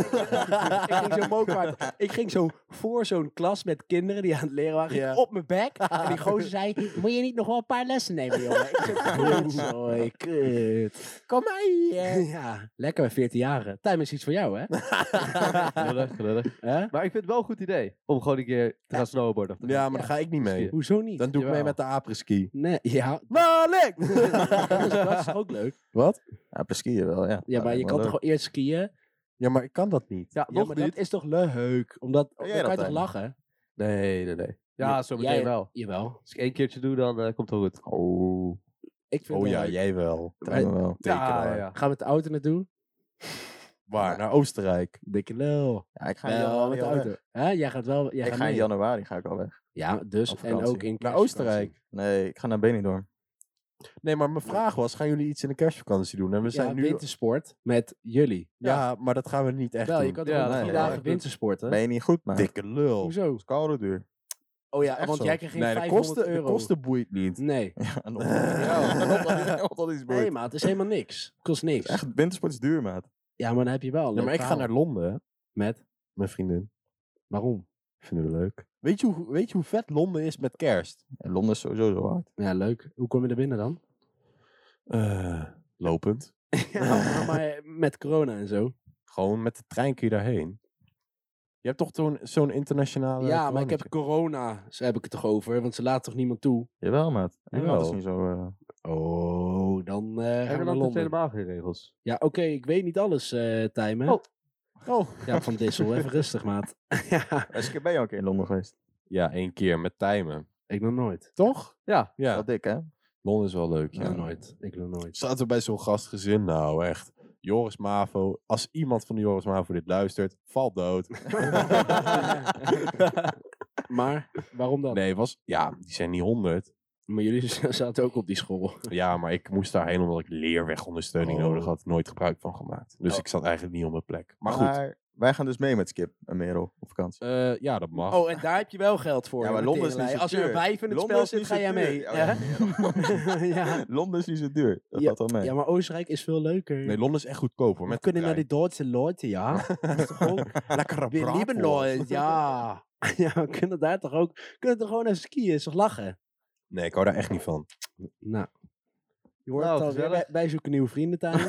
[SPEAKER 2] ik ging zo mokaard. Ik ging zo voor zo'n klas met kinderen die aan het leren waren. ging
[SPEAKER 1] Ja.
[SPEAKER 2] op mijn bek. En die gozer zei, moet je niet nog wel een paar lessen nemen, jongen? Ik zo, "Kutzooi, kut.
[SPEAKER 1] Kom maar hier!
[SPEAKER 2] Ja, lekker bij 14 jaren. Time is iets voor jou, hè?
[SPEAKER 3] Lullig, lullig.
[SPEAKER 2] Hè?
[SPEAKER 3] Maar ik vind het wel een goed idee om gewoon een keer te gaan snowboarden.
[SPEAKER 1] Ja, maar daar ga ik niet mee.
[SPEAKER 2] Hoezo niet?
[SPEAKER 1] Dan doe ik mee
[SPEAKER 3] Jawel.
[SPEAKER 1] met de apres-ski. Nou,
[SPEAKER 2] Nee, ja.
[SPEAKER 1] Malik!
[SPEAKER 2] dat is- dat is toch ook leuk.
[SPEAKER 1] Wat?
[SPEAKER 4] Ja, per skiën wel, ja.
[SPEAKER 2] Ja, maar je kan toch gewoon eerst skiën?
[SPEAKER 1] Ja, maar ik kan dat niet.
[SPEAKER 3] Ja,
[SPEAKER 2] Ja,
[SPEAKER 3] nog
[SPEAKER 2] maar
[SPEAKER 3] niet.
[SPEAKER 2] dat is toch leuk? Omdat, dan
[SPEAKER 4] jij
[SPEAKER 2] kan je
[SPEAKER 4] dat
[SPEAKER 2] toch
[SPEAKER 4] dan?
[SPEAKER 2] lachen?
[SPEAKER 3] Nee, nee, nee. Ja, zo meteen
[SPEAKER 2] jij-
[SPEAKER 3] wel.
[SPEAKER 2] Jawel.
[SPEAKER 3] Als ik één keertje doe, dan eh, komt het wel goed.
[SPEAKER 4] Oh,
[SPEAKER 2] Ik vind
[SPEAKER 1] Oh
[SPEAKER 2] het
[SPEAKER 1] ja,
[SPEAKER 2] wel leuk.
[SPEAKER 1] jij wel.
[SPEAKER 4] dat doen we wel.
[SPEAKER 1] Zeker
[SPEAKER 3] ja,
[SPEAKER 1] waar.
[SPEAKER 3] ja.
[SPEAKER 2] Gaan we met de auto naartoe?
[SPEAKER 1] Waar? Naar Oostenrijk.
[SPEAKER 2] Dikke lul.
[SPEAKER 4] Ja, ik ga in
[SPEAKER 2] Wel, met
[SPEAKER 4] januari
[SPEAKER 2] de
[SPEAKER 4] al weg.
[SPEAKER 2] auto. Hè? Jij gaat wel... Jij
[SPEAKER 4] Ik
[SPEAKER 2] gaat
[SPEAKER 4] ga in
[SPEAKER 2] mee.
[SPEAKER 4] januari ga ik al weg.
[SPEAKER 2] Ja, dus
[SPEAKER 4] Op
[SPEAKER 2] en ook
[SPEAKER 4] vakantie.
[SPEAKER 2] in
[SPEAKER 1] Naar
[SPEAKER 2] kerstvakantie.
[SPEAKER 1] Oostenrijk.
[SPEAKER 4] Nee, ik ga naar Benidorm.
[SPEAKER 1] Nee, maar mijn vraag was, gaan jullie iets in de kerstvakantie doen? En we
[SPEAKER 2] We zijn
[SPEAKER 1] zijn
[SPEAKER 2] ja,
[SPEAKER 1] nu...
[SPEAKER 2] wintersport met jullie.
[SPEAKER 1] Ja, maar dat gaan we niet echt
[SPEAKER 2] Wel, je
[SPEAKER 1] doen.
[SPEAKER 2] kan
[SPEAKER 3] Ja,
[SPEAKER 2] toch wel
[SPEAKER 3] nee,
[SPEAKER 2] drie
[SPEAKER 4] ja,
[SPEAKER 2] dagen
[SPEAKER 3] dat-
[SPEAKER 2] wintersporten?
[SPEAKER 4] Ben je niet goed, man?
[SPEAKER 1] Dikke lul.
[SPEAKER 2] Hoezo?
[SPEAKER 4] is koude duur.
[SPEAKER 2] Oh ja,
[SPEAKER 1] Echt
[SPEAKER 2] want
[SPEAKER 1] zo.
[SPEAKER 2] jij krijgt geen
[SPEAKER 1] nee, de
[SPEAKER 2] 500
[SPEAKER 1] kosten, de
[SPEAKER 2] euro.
[SPEAKER 1] kosten boeit niet.
[SPEAKER 2] Nee.
[SPEAKER 4] Ja, en op- ja, op- op- op- dat is
[SPEAKER 2] Nee,
[SPEAKER 4] boeit.
[SPEAKER 2] maar het is helemaal niks. Kost niks.
[SPEAKER 4] Echt, wintersport is duur, maat.
[SPEAKER 2] Ja, maar dan heb je wel. een
[SPEAKER 1] Ja,
[SPEAKER 2] leuk
[SPEAKER 1] maar ik ga
[SPEAKER 2] verhaal.
[SPEAKER 1] naar Londen, hè,
[SPEAKER 2] Met?
[SPEAKER 1] mijn vriendin.
[SPEAKER 2] Waarom?
[SPEAKER 1] Vinden we leuk. Weet je, hoe, weet je hoe vet Londen is met kerst?
[SPEAKER 4] En Londen is sowieso zo hard.
[SPEAKER 2] Ja, leuk. Hoe kom je er binnen dan?
[SPEAKER 1] Eh, lopend.
[SPEAKER 2] Ja, Nou, maar met corona en zo.
[SPEAKER 1] Gewoon met de trein kun je daarheen. Je hebt toch zo'n zo'n internationale...
[SPEAKER 2] Ja, maar ik heb
[SPEAKER 1] coronatje?
[SPEAKER 2] corona. Zo heb ik het toch over, want ze laten toch niemand toe?
[SPEAKER 4] Jawel, maat.
[SPEAKER 1] Jawel.
[SPEAKER 4] Engeland is niet zo... eh,
[SPEAKER 2] Oh, dan eh gaan we naar
[SPEAKER 3] Engeland heeft
[SPEAKER 2] Londen.
[SPEAKER 3] helemaal geen regels.
[SPEAKER 2] Ja, oké, ik weet niet alles, eh Tijmen.
[SPEAKER 3] Oh.
[SPEAKER 1] Oh.
[SPEAKER 2] Ja, van Dissel, even rustig, maat. ja,
[SPEAKER 4] Is ik Eh, ben je ook in Londen geweest?
[SPEAKER 1] Ja, één keer met timen.
[SPEAKER 2] ik nog nooit.
[SPEAKER 1] Toch?
[SPEAKER 3] Ja.
[SPEAKER 1] Ja,
[SPEAKER 4] Wel dik, hè?
[SPEAKER 1] Londen is wel leuk, ja.
[SPEAKER 2] Ik nog nooit. Ik nog nooit.
[SPEAKER 1] Zaten we bij zo'n gastgezin, nou echt. Joris Mavo, als iemand van de Joris Mavo dit luistert, valt dood.
[SPEAKER 2] Maar waarom dan?
[SPEAKER 1] nee, was, ja, die zijn niet honderd.
[SPEAKER 2] Maar jullie zaten ook op die school.
[SPEAKER 1] Ja, maar ik moest daarheen omdat ik leerwegondersteuning
[SPEAKER 4] Oh.
[SPEAKER 1] nodig had. Nooit gebruik van gemaakt. Dus ik zat eigenlijk niet op mijn plek. Maar goed,
[SPEAKER 4] Maar wij gaan dus mee met Skip en Merel op vakantie.
[SPEAKER 1] eh, ja, dat mag.
[SPEAKER 2] Oh, en daar heb je wel geld voor.
[SPEAKER 4] Ja,
[SPEAKER 2] hè,
[SPEAKER 4] maar
[SPEAKER 2] met
[SPEAKER 4] Londen is niet
[SPEAKER 2] teringlei.
[SPEAKER 4] zo
[SPEAKER 2] Als er een
[SPEAKER 4] duur.
[SPEAKER 2] wijf in het
[SPEAKER 4] Londen
[SPEAKER 2] spel
[SPEAKER 4] is
[SPEAKER 2] zit,
[SPEAKER 4] niet
[SPEAKER 2] ga
[SPEAKER 4] zo
[SPEAKER 2] jij
[SPEAKER 4] duur.
[SPEAKER 2] mee.
[SPEAKER 4] Oh,
[SPEAKER 2] hè?
[SPEAKER 4] ja, Merel.
[SPEAKER 2] ja.
[SPEAKER 4] Londen is niet zo duur. Dat
[SPEAKER 2] Ja,
[SPEAKER 4] valt wel mee.
[SPEAKER 2] ja, maar Oostenrijk is veel leuker.
[SPEAKER 1] Nee, Londen is echt goedkoper. hoor,
[SPEAKER 2] We
[SPEAKER 1] Met
[SPEAKER 2] kunnen naar de Duitse Leute, ja. Dat is toch ook...
[SPEAKER 1] lekkere
[SPEAKER 2] We lieben Leute, ja. Ja, we kunnen daar toch ook... We kunnen toch gewoon even skiën, is toch lachen?
[SPEAKER 1] Nee, ik hou daar echt niet van.
[SPEAKER 2] Nou. Je hoort
[SPEAKER 3] Nou,
[SPEAKER 2] het alweer,
[SPEAKER 3] gezellig.
[SPEAKER 2] wij, wij zoeken nieuwe vrienden thuis.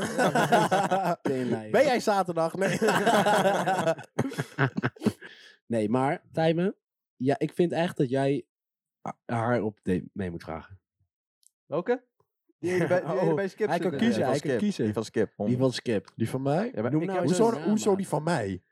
[SPEAKER 2] Teringlei.
[SPEAKER 1] ben jij zaterdag? Nee.
[SPEAKER 2] nee, maar Tijmen, ja, ik vind echt dat jij ha- haar op date mee moet vragen.
[SPEAKER 3] Welke? Die ene bij, die ene
[SPEAKER 2] Oh,
[SPEAKER 3] bij Skip
[SPEAKER 2] hij kan
[SPEAKER 3] zitten. eh.
[SPEAKER 2] kiezen,
[SPEAKER 4] van
[SPEAKER 2] hij kan
[SPEAKER 4] Skip.
[SPEAKER 2] kiezen.
[SPEAKER 4] Die van Skip.
[SPEAKER 2] Die van Skip.
[SPEAKER 1] die van mij?
[SPEAKER 3] Ja, maar
[SPEAKER 2] Noem
[SPEAKER 3] ik
[SPEAKER 2] nou
[SPEAKER 3] heb-
[SPEAKER 2] eens
[SPEAKER 3] dus-
[SPEAKER 1] hoezo,
[SPEAKER 2] een naam,
[SPEAKER 1] hoezo
[SPEAKER 2] maar-
[SPEAKER 1] die van mij?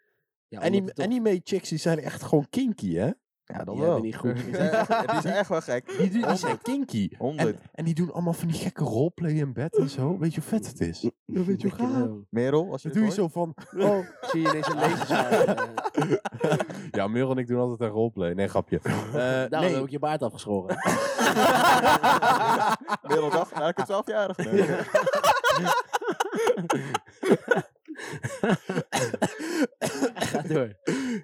[SPEAKER 2] Ja,
[SPEAKER 1] en die,
[SPEAKER 2] omdat het toch-
[SPEAKER 1] anime chicks die zijn echt gewoon kinky, hè?
[SPEAKER 4] Ja,
[SPEAKER 2] Jij bent
[SPEAKER 4] dat wel.
[SPEAKER 2] niet goed.
[SPEAKER 4] Het is echt- Het is echt wel gek.
[SPEAKER 1] Die, die zijn kinky.
[SPEAKER 4] 100.
[SPEAKER 1] En, en die doen allemaal van die gekke roleplay in bed en zo. Weet je hoe vet het is? Dat weet je hoe gaaf.
[SPEAKER 4] Merel, als je
[SPEAKER 1] Dan
[SPEAKER 4] dit
[SPEAKER 1] doe je zo
[SPEAKER 4] hoort.
[SPEAKER 1] van...
[SPEAKER 2] Oh, zie je deze lezers.
[SPEAKER 1] Eh,
[SPEAKER 2] Eh,
[SPEAKER 1] Ja, Merel en ik doen altijd een roleplay. Nee, grapje. Eh,
[SPEAKER 2] Daarom
[SPEAKER 1] nee,
[SPEAKER 2] nou, heb ik je baard afgeschoren.
[SPEAKER 4] Merel dacht, nou, ik heb 12 jarig.
[SPEAKER 2] Ga door.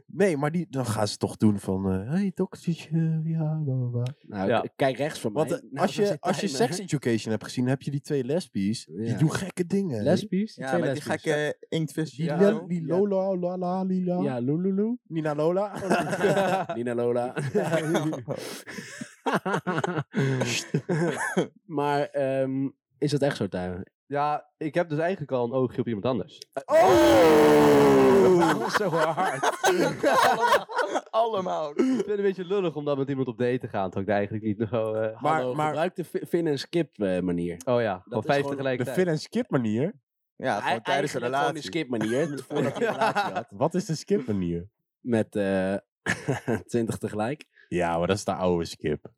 [SPEAKER 1] nee, maar die, dan gaan ze toch doen van... eh hey, doktertje, ja, bla, bla, bla.
[SPEAKER 2] Nou,
[SPEAKER 3] Ja.
[SPEAKER 2] k- kijk rechts van
[SPEAKER 1] Want
[SPEAKER 2] mij.
[SPEAKER 1] eh,
[SPEAKER 2] Nou,
[SPEAKER 1] als,
[SPEAKER 2] daar
[SPEAKER 1] je,
[SPEAKER 2] zit
[SPEAKER 1] als je
[SPEAKER 2] Tijmen.
[SPEAKER 1] Sex Education hebt gezien, heb je die twee lesbies. Die
[SPEAKER 2] Ja.
[SPEAKER 1] doen gekke dingen.
[SPEAKER 2] Lesbisch?
[SPEAKER 4] Ja,
[SPEAKER 2] twee
[SPEAKER 4] met die
[SPEAKER 2] lesbisch.
[SPEAKER 4] gekke inktvis.
[SPEAKER 1] Die,
[SPEAKER 4] Ja,
[SPEAKER 1] le-
[SPEAKER 4] zo.
[SPEAKER 1] die
[SPEAKER 2] Ja.
[SPEAKER 1] Lola, la, la, lila.
[SPEAKER 2] Ja, Oh, Lululu.
[SPEAKER 1] Nina Lola.
[SPEAKER 2] Nina Lola. maar ehm, is dat echt zo, Tijmen?
[SPEAKER 3] Ja, ik heb dus eigenlijk al een oogje op iemand anders.
[SPEAKER 1] Oh!
[SPEAKER 3] Dat is zo hard.
[SPEAKER 4] Allemaal.
[SPEAKER 3] ik vind het een beetje lullig om dan met iemand op date te gaan, terwijl ik daar eigenlijk niet zo... eh,
[SPEAKER 1] Maar-
[SPEAKER 2] Maar,
[SPEAKER 1] maar-
[SPEAKER 2] gebruik de fi- fin en skip eh, manier.
[SPEAKER 3] Oh ja, gewoon
[SPEAKER 2] is
[SPEAKER 3] vijf
[SPEAKER 2] gewoon
[SPEAKER 1] De
[SPEAKER 3] tegelijkertijd.
[SPEAKER 1] fin- en skip manier.
[SPEAKER 4] Ja, gewoon
[SPEAKER 2] Eigenlijk
[SPEAKER 4] tijdens een
[SPEAKER 2] gewoon
[SPEAKER 4] relatie.
[SPEAKER 2] die skip manier, voordat hij een relatie had.
[SPEAKER 1] Wat is de skip manier?
[SPEAKER 2] Met eh 20 tegelijk.
[SPEAKER 1] Ja, maar dat is de oude skip.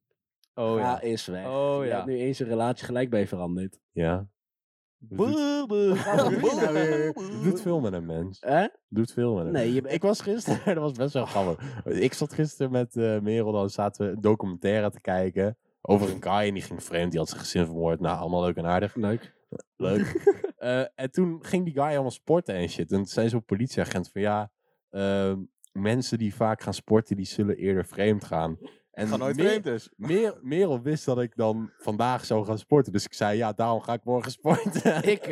[SPEAKER 3] Oh
[SPEAKER 2] Ga
[SPEAKER 3] ja.
[SPEAKER 2] is weg.
[SPEAKER 3] Oh
[SPEAKER 2] Je
[SPEAKER 3] ja.
[SPEAKER 2] hebt nu eens een relatie gelijk bij veranderd.
[SPEAKER 1] Ja.
[SPEAKER 4] Boe, boe.
[SPEAKER 2] Wat doe je nou weer?
[SPEAKER 1] Doet veel met een mens.
[SPEAKER 2] Hè?
[SPEAKER 1] Doet veel met een
[SPEAKER 2] Nee, je
[SPEAKER 1] Ik was gisteren, dat was best wel grappig. Ik zat gisteren met eh, Merel, dan zaten we een documentaire te kijken. Over een guy en die ging vreemd, die had zijn gezin vermoord. Nou, allemaal leuk en aardig.
[SPEAKER 2] Leuk.
[SPEAKER 1] Leuk. Eh, en toen ging die guy allemaal sporten en shit. En toen zei zo'n politieagent van ja, ehm, mensen die vaak gaan sporten, die zullen eerder vreemd gaan. En
[SPEAKER 4] Ga nooit
[SPEAKER 1] Mer-
[SPEAKER 4] vreemd dus.
[SPEAKER 1] Mer- Merel wist dat ik dan vandaag zou gaan sporten. Dus ik zei, ja, daarom ga ik morgen sporten.
[SPEAKER 2] Ik,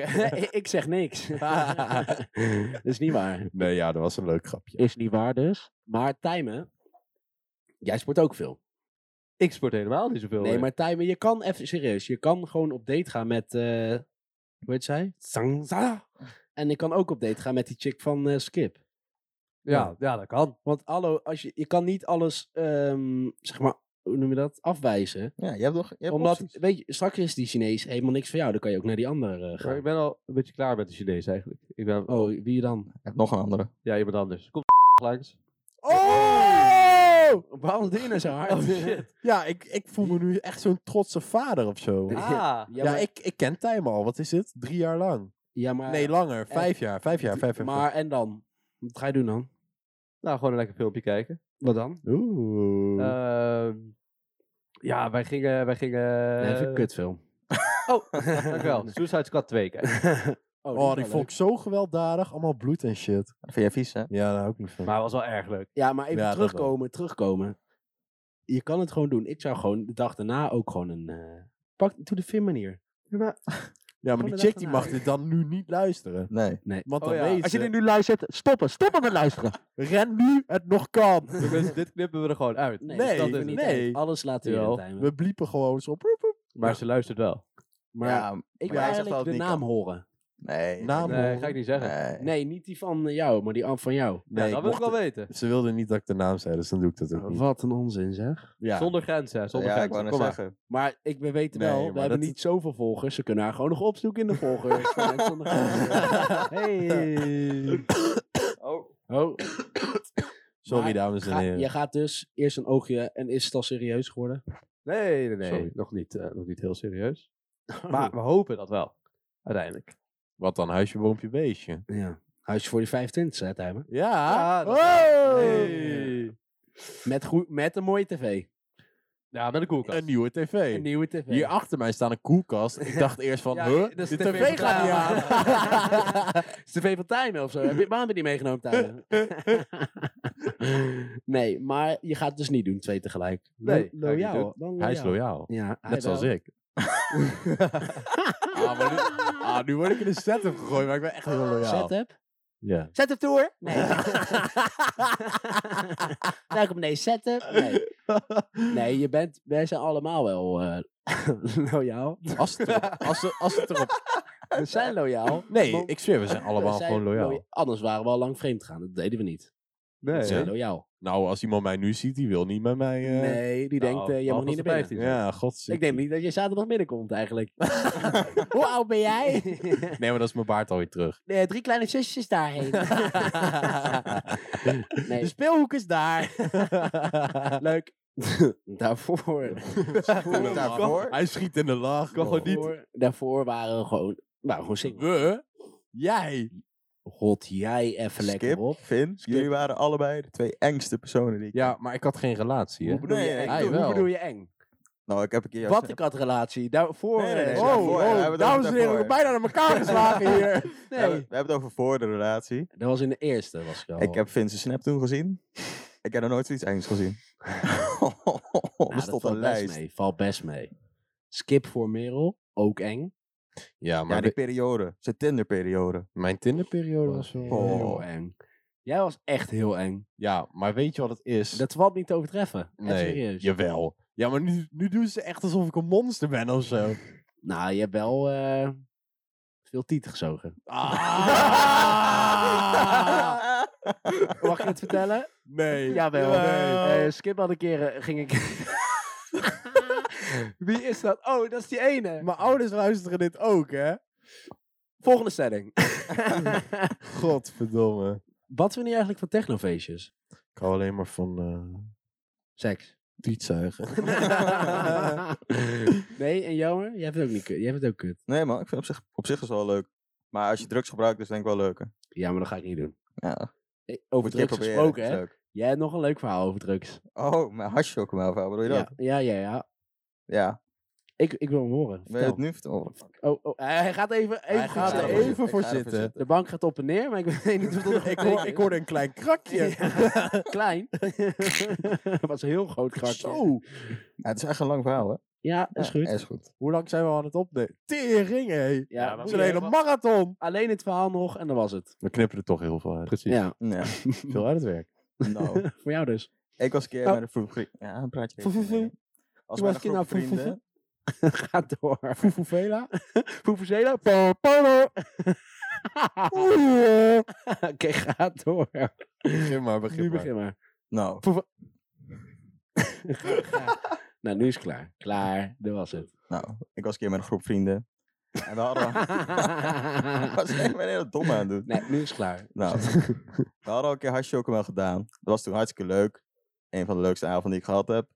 [SPEAKER 2] ik zeg niks. dat is niet waar.
[SPEAKER 1] Nee, ja, dat was een leuk grapje.
[SPEAKER 2] Is niet waar dus. Maar Tijmen, jij sport ook veel.
[SPEAKER 3] Ik sport helemaal niet zoveel.
[SPEAKER 2] Nee,
[SPEAKER 3] hè.
[SPEAKER 2] maar Tijmen, je kan even serieus. Je kan gewoon op date gaan met, eh hoe heet zij? Sangza. En ik kan ook op date gaan met die chick van eh, Skip.
[SPEAKER 3] Ja, ja, dat kan.
[SPEAKER 2] Want hallo, als je, je kan niet alles, ehm, zeg maar, hoe noem je dat? Afwijzen.
[SPEAKER 4] Ja, je hebt nog. Je hebt
[SPEAKER 2] Omdat,
[SPEAKER 4] opties.
[SPEAKER 2] weet je, straks is die Chinees helemaal niks voor jou. Dan kan je ook naar die andere eh,
[SPEAKER 3] Maar
[SPEAKER 2] gaan.
[SPEAKER 3] ik ben al een beetje klaar met de Chinees eigenlijk. Ik ben...
[SPEAKER 2] Oh, wie dan?
[SPEAKER 4] Je hebt nog een andere.
[SPEAKER 3] Ja, iemand anders. Kom langs.
[SPEAKER 1] Oh!
[SPEAKER 2] Waarom doe je nou zo hard?
[SPEAKER 3] Oh, shit.
[SPEAKER 1] Ja, ik, ik voel me nu echt zo'n trotse vader of zo.
[SPEAKER 2] Ja,
[SPEAKER 3] Ah.
[SPEAKER 2] Ja,
[SPEAKER 1] Ja,
[SPEAKER 2] maar,
[SPEAKER 1] ik, ik ken Tijm al. Wat is het? Drie jaar lang.
[SPEAKER 2] ja, maar,
[SPEAKER 1] nee, langer. Vijf jaar. Vijf jaar. Vijf jaar.
[SPEAKER 2] maar en dan? Wat ga je doen dan?
[SPEAKER 3] Nou, gewoon een lekker filmpje kijken.
[SPEAKER 2] Wat dan?
[SPEAKER 1] Oeh.
[SPEAKER 3] Ehm, ja, wij gingen... Wij gingen
[SPEAKER 2] Even een kutfilm.
[SPEAKER 3] Oh, dankjewel. Suicide Squad 2 kijken.
[SPEAKER 1] oh, die vond ik zo gewelddadig. Allemaal bloed en shit.
[SPEAKER 4] Dat vind jij vies, hè?
[SPEAKER 1] Ja, daar ook niet van.
[SPEAKER 3] Maar het was wel erg leuk.
[SPEAKER 2] Ja, maar even
[SPEAKER 1] Ja, dat wel.
[SPEAKER 2] terugkomen, terugkomen. Je kan het gewoon doen. Ik zou gewoon de dag daarna ook gewoon een... eh, pak, doe de film manier.
[SPEAKER 1] ja, maar
[SPEAKER 2] Gewoon
[SPEAKER 1] die
[SPEAKER 2] de
[SPEAKER 1] chick
[SPEAKER 2] dag
[SPEAKER 1] die
[SPEAKER 2] erna.
[SPEAKER 1] mag dit dan nu niet luisteren.
[SPEAKER 4] Nee.
[SPEAKER 1] Want
[SPEAKER 3] Oh
[SPEAKER 1] dan
[SPEAKER 3] ja.
[SPEAKER 1] weet
[SPEAKER 3] Als
[SPEAKER 1] ze,
[SPEAKER 2] nu luistert, stoppen. Stoppen met luisteren.
[SPEAKER 1] ren nu, het nog kan.
[SPEAKER 3] Dus dit knippen we er gewoon uit.
[SPEAKER 2] Nee,
[SPEAKER 1] Nee,
[SPEAKER 2] dat doen we niet
[SPEAKER 1] nee.
[SPEAKER 2] echt. Alles laten we
[SPEAKER 3] Jawel.
[SPEAKER 2] in timen.
[SPEAKER 1] We bliepen gewoon zo. Roep, roep.
[SPEAKER 3] Maar ze luistert wel.
[SPEAKER 2] Maar
[SPEAKER 4] ja,
[SPEAKER 2] ik wil
[SPEAKER 4] jij zegt wel
[SPEAKER 2] eigenlijk
[SPEAKER 4] dat
[SPEAKER 2] de
[SPEAKER 4] het niet
[SPEAKER 2] naam
[SPEAKER 4] kan.
[SPEAKER 2] horen.
[SPEAKER 4] nee.
[SPEAKER 1] Naam
[SPEAKER 3] Nee,
[SPEAKER 1] horen.
[SPEAKER 3] ga ik niet zeggen.
[SPEAKER 4] Nee.
[SPEAKER 2] Nee, niet die van eh, jou, maar die an- van jou.
[SPEAKER 3] Ja,
[SPEAKER 1] Nee,
[SPEAKER 3] dat
[SPEAKER 1] ik
[SPEAKER 3] wil ik
[SPEAKER 1] mocht
[SPEAKER 3] wel weten.
[SPEAKER 1] Ze wilde niet dat ik de naam zei, dus dan doe ik dat ook niet.
[SPEAKER 2] Wat een onzin zeg.
[SPEAKER 1] Ja.
[SPEAKER 3] Zonder grenzen, hè, zonder
[SPEAKER 4] ja, ik
[SPEAKER 3] grenzen.
[SPEAKER 4] wou net
[SPEAKER 3] Kom maar.
[SPEAKER 4] zeggen.
[SPEAKER 2] Maar ik, we weten
[SPEAKER 1] Nee,
[SPEAKER 2] wel,
[SPEAKER 1] maar
[SPEAKER 2] we hebben
[SPEAKER 1] dat-
[SPEAKER 2] niet zoveel volgers. Ze kunnen haar gewoon nog opzoeken in de volgers. van Henk van der Gaal. hey.
[SPEAKER 4] Oh.
[SPEAKER 2] Oh,
[SPEAKER 1] Sorry,
[SPEAKER 2] Maar
[SPEAKER 1] dames en
[SPEAKER 2] ga,
[SPEAKER 1] heren.
[SPEAKER 2] je gaat dus eerst een oogje en is het al serieus geworden?
[SPEAKER 3] Nee, nee, nee.
[SPEAKER 1] Sorry.
[SPEAKER 3] Nog niet, eh, nog niet heel serieus. Maar we hopen dat wel. Uiteindelijk.
[SPEAKER 1] Wat dan? Huisje, boompje, beestje.
[SPEAKER 2] Ja. Huisje voor die 25, hè, Tijmen?
[SPEAKER 1] Ja. Oh!
[SPEAKER 3] Ja, dat-
[SPEAKER 1] Wow!
[SPEAKER 3] Hey.
[SPEAKER 2] Met, goe- met een mooie tv.
[SPEAKER 3] Ja, met een koelkast.
[SPEAKER 1] Een nieuwe tv.
[SPEAKER 2] Een nieuwe tv.
[SPEAKER 1] Hier achter mij staat een koelkast. Ik dacht eerst van,
[SPEAKER 2] Ja,
[SPEAKER 1] huh?
[SPEAKER 2] dat is
[SPEAKER 1] De
[SPEAKER 2] de
[SPEAKER 1] tv,
[SPEAKER 2] tv
[SPEAKER 1] gaat niet aan.
[SPEAKER 2] aan. Is de tv van Tijmen of zo? Heb je, waarom heb je die meegenomen, Tijmen? nee, maar je gaat het dus niet doen, twee tegelijk. Lo-
[SPEAKER 3] Nee, ga ik niet
[SPEAKER 2] loyaal.
[SPEAKER 3] doen.
[SPEAKER 2] Dan
[SPEAKER 1] Hij is loyaal.
[SPEAKER 2] Ja, hij
[SPEAKER 1] Net zoals
[SPEAKER 2] wel.
[SPEAKER 1] ik. ah, maar nu, ah, nu word ik in de setup gegooid, maar ik ben echt heel loyaal.
[SPEAKER 2] Setup?
[SPEAKER 1] Ja.
[SPEAKER 2] Setup tour? Nee. Welkom, nee, setup? Nee. Nee, je bent, wij zijn allemaal wel eh, loyaal.
[SPEAKER 1] Als het erop... Als het, als het erop
[SPEAKER 2] We zijn loyaal.
[SPEAKER 1] nee,
[SPEAKER 2] want
[SPEAKER 1] ik zweer, we zijn
[SPEAKER 2] we
[SPEAKER 1] allemaal
[SPEAKER 2] zijn
[SPEAKER 1] gewoon loyaal.
[SPEAKER 2] Anders waren we al lang vreemd gegaan. Dat deden we niet.
[SPEAKER 3] Nee,
[SPEAKER 2] We zijn
[SPEAKER 3] ja.
[SPEAKER 2] loyaal.
[SPEAKER 1] Nou, als iemand mij nu ziet, die wil niet met mij... eh,
[SPEAKER 2] nee, die
[SPEAKER 3] nou,
[SPEAKER 2] denkt, eh, jij mag
[SPEAKER 3] behalve
[SPEAKER 2] niet naar
[SPEAKER 3] als de
[SPEAKER 2] binnen.
[SPEAKER 3] 15 zijn.
[SPEAKER 1] Ja, godzijdank.
[SPEAKER 2] Ik denk niet dat je zaterdag binnenkomt eigenlijk. Hoe oud ben jij?
[SPEAKER 1] Nee, maar dat is mijn baard alweer terug.
[SPEAKER 2] nee, drie kleine zusjes daarheen. nee.
[SPEAKER 1] De speelhoek is Dus daar.
[SPEAKER 2] Leuk. daarvoor,
[SPEAKER 4] Daarvoor?
[SPEAKER 1] Hij schiet in de lach.
[SPEAKER 3] Kan gewoon niet.
[SPEAKER 2] daarvoor, daarvoor waren we gewoon, waren we gewoon single.
[SPEAKER 1] We? Jij?
[SPEAKER 2] Rot jij even lekker
[SPEAKER 4] Skip,
[SPEAKER 2] op.
[SPEAKER 4] Finn, jullie waren allebei de twee engste personen die ik
[SPEAKER 1] Ja, maar ik had geen relatie, hè?
[SPEAKER 2] Hoe bedoel je
[SPEAKER 4] Nee,
[SPEAKER 2] eng?
[SPEAKER 1] hij
[SPEAKER 2] Hoe
[SPEAKER 1] wel.
[SPEAKER 2] bedoel je eng?
[SPEAKER 4] Nou, ik heb een keer...
[SPEAKER 2] Wat ik had relatie. Daarvoor.
[SPEAKER 4] Nee, nee, nee,
[SPEAKER 2] eh,
[SPEAKER 4] Oh, daarvoor, oh, hebben we het dames en heren, daarvoor.
[SPEAKER 1] bijna naar elkaar geslagen hier.
[SPEAKER 4] We hebben, we hebben het over voor de relatie.
[SPEAKER 2] Dat was in de eerste. Was ik, al.
[SPEAKER 4] Ik heb Vince snap toen gezien. Ik heb nog nooit zoiets engs gezien.
[SPEAKER 2] Nou,
[SPEAKER 4] er
[SPEAKER 2] dat
[SPEAKER 4] stond
[SPEAKER 2] valt
[SPEAKER 4] een
[SPEAKER 2] Best
[SPEAKER 4] lijst.
[SPEAKER 2] mee, valt best mee. Skip voor Merel. Ook eng.
[SPEAKER 1] Ja, maar
[SPEAKER 4] Ja, die
[SPEAKER 1] de-
[SPEAKER 4] periode. Zijn Tinder-periode.
[SPEAKER 1] mijn Tinderperiode was wel...
[SPEAKER 4] Oh.
[SPEAKER 2] Heel eng. Jij was echt heel eng.
[SPEAKER 1] Ja, maar weet je wat het is?
[SPEAKER 2] Dat valt niet te overtreffen. Echt
[SPEAKER 1] nee,
[SPEAKER 2] serieus.
[SPEAKER 1] jawel. Ja, maar nu, nu doen ze echt alsof ik een monster ben of zo.
[SPEAKER 2] Nou, je hebt wel eh, veel tiet gezogen.
[SPEAKER 1] Ah!
[SPEAKER 2] Mag ik het vertellen?
[SPEAKER 1] Nee.
[SPEAKER 2] Jawel.
[SPEAKER 1] Nee.
[SPEAKER 2] Eh, Skip had een keer, eh, ging ik... Wie is dat? Oh, dat is die ene.
[SPEAKER 1] Mijn ouders luisteren dit ook, hè?
[SPEAKER 2] Volgende stelling.
[SPEAKER 1] Godverdomme.
[SPEAKER 2] Wat vind je eigenlijk van technofeestjes?
[SPEAKER 1] Ik hou alleen maar van eh
[SPEAKER 2] Seks.
[SPEAKER 1] tietzuigen.
[SPEAKER 2] nee, en jammer? Jij hebt het ook niet kut. Jij hebt het ook kut.
[SPEAKER 4] Nee man, ik vind op zich, op zich is wel leuk. Maar als je drugs gebruikt, is het denk ik wel leuker.
[SPEAKER 2] Ja, maar dat ga ik niet doen.
[SPEAKER 4] Ja,
[SPEAKER 2] Eh,
[SPEAKER 4] moet
[SPEAKER 2] Over
[SPEAKER 4] je een
[SPEAKER 2] drugs
[SPEAKER 4] keer proberen,
[SPEAKER 2] gesproken,
[SPEAKER 4] is
[SPEAKER 2] hè?
[SPEAKER 4] leuk.
[SPEAKER 2] Jij hebt nog een leuk verhaal over drugs.
[SPEAKER 4] Oh, maar hasjchocomel, wat bedoel je
[SPEAKER 2] Ja,
[SPEAKER 4] dat?
[SPEAKER 2] ja, ja. ja.
[SPEAKER 4] Ja.
[SPEAKER 2] Ik, ik wil hem horen.
[SPEAKER 4] Wil je het
[SPEAKER 2] Vertel.
[SPEAKER 4] nu vertellen?
[SPEAKER 2] Oh, oh, hij gaat even, even
[SPEAKER 1] Hij
[SPEAKER 2] goed
[SPEAKER 1] gaat er
[SPEAKER 2] zitten.
[SPEAKER 4] ervoor
[SPEAKER 1] even voor
[SPEAKER 4] Ik ga ervoor
[SPEAKER 1] zitten.
[SPEAKER 2] De bank gaat op en neer, maar ik weet niet wat dat
[SPEAKER 1] ik, hoor, ik hoorde een klein krakje.
[SPEAKER 2] Ja, klein. Dat was een heel groot krakje.
[SPEAKER 1] Zo.
[SPEAKER 4] Ja, het is echt een lang verhaal, hè?
[SPEAKER 2] Ja, is
[SPEAKER 4] Ja,
[SPEAKER 2] goed.
[SPEAKER 4] Is goed.
[SPEAKER 1] Hoe lang zijn we aan het opnemen? Tering, hé. Het
[SPEAKER 2] Ja,
[SPEAKER 3] Ja, maar
[SPEAKER 1] is
[SPEAKER 2] moet
[SPEAKER 1] een
[SPEAKER 2] je-
[SPEAKER 1] hele marathon.
[SPEAKER 2] Alleen het verhaal nog en dan was het.
[SPEAKER 1] We knippen er toch heel veel uit.
[SPEAKER 3] Precies.
[SPEAKER 2] Ja,
[SPEAKER 4] Ja.
[SPEAKER 1] Veel uit het werk.
[SPEAKER 4] Nou,
[SPEAKER 2] voor jou dus.
[SPEAKER 4] ik was een keer
[SPEAKER 1] Oh.
[SPEAKER 4] met een groep vrienden. Ja, een praatje.
[SPEAKER 1] Foe, foe, foe.
[SPEAKER 4] Als
[SPEAKER 1] Ik
[SPEAKER 4] met
[SPEAKER 1] was
[SPEAKER 4] een
[SPEAKER 1] een keer naar foe,
[SPEAKER 4] groep
[SPEAKER 1] foe, foe.
[SPEAKER 4] vrienden.
[SPEAKER 2] Gaat door.
[SPEAKER 1] Fufufela.
[SPEAKER 2] Poepenzela. Oké, gaat door.
[SPEAKER 1] Begin maar, begin
[SPEAKER 2] Nu
[SPEAKER 1] maar.
[SPEAKER 2] begin maar.
[SPEAKER 4] Nou,
[SPEAKER 2] Nou, nu is het klaar. Klaar, dat was het.
[SPEAKER 4] nou, ik was een keer met een groep vrienden. En we hadden... Ik was echt een hele domme aan het doen.
[SPEAKER 2] nee, nu is het klaar.
[SPEAKER 4] Nou, we hadden al een keer hasjchocomel gedaan. Dat was toen hartstikke leuk. Een van de leukste avonden die ik gehad heb.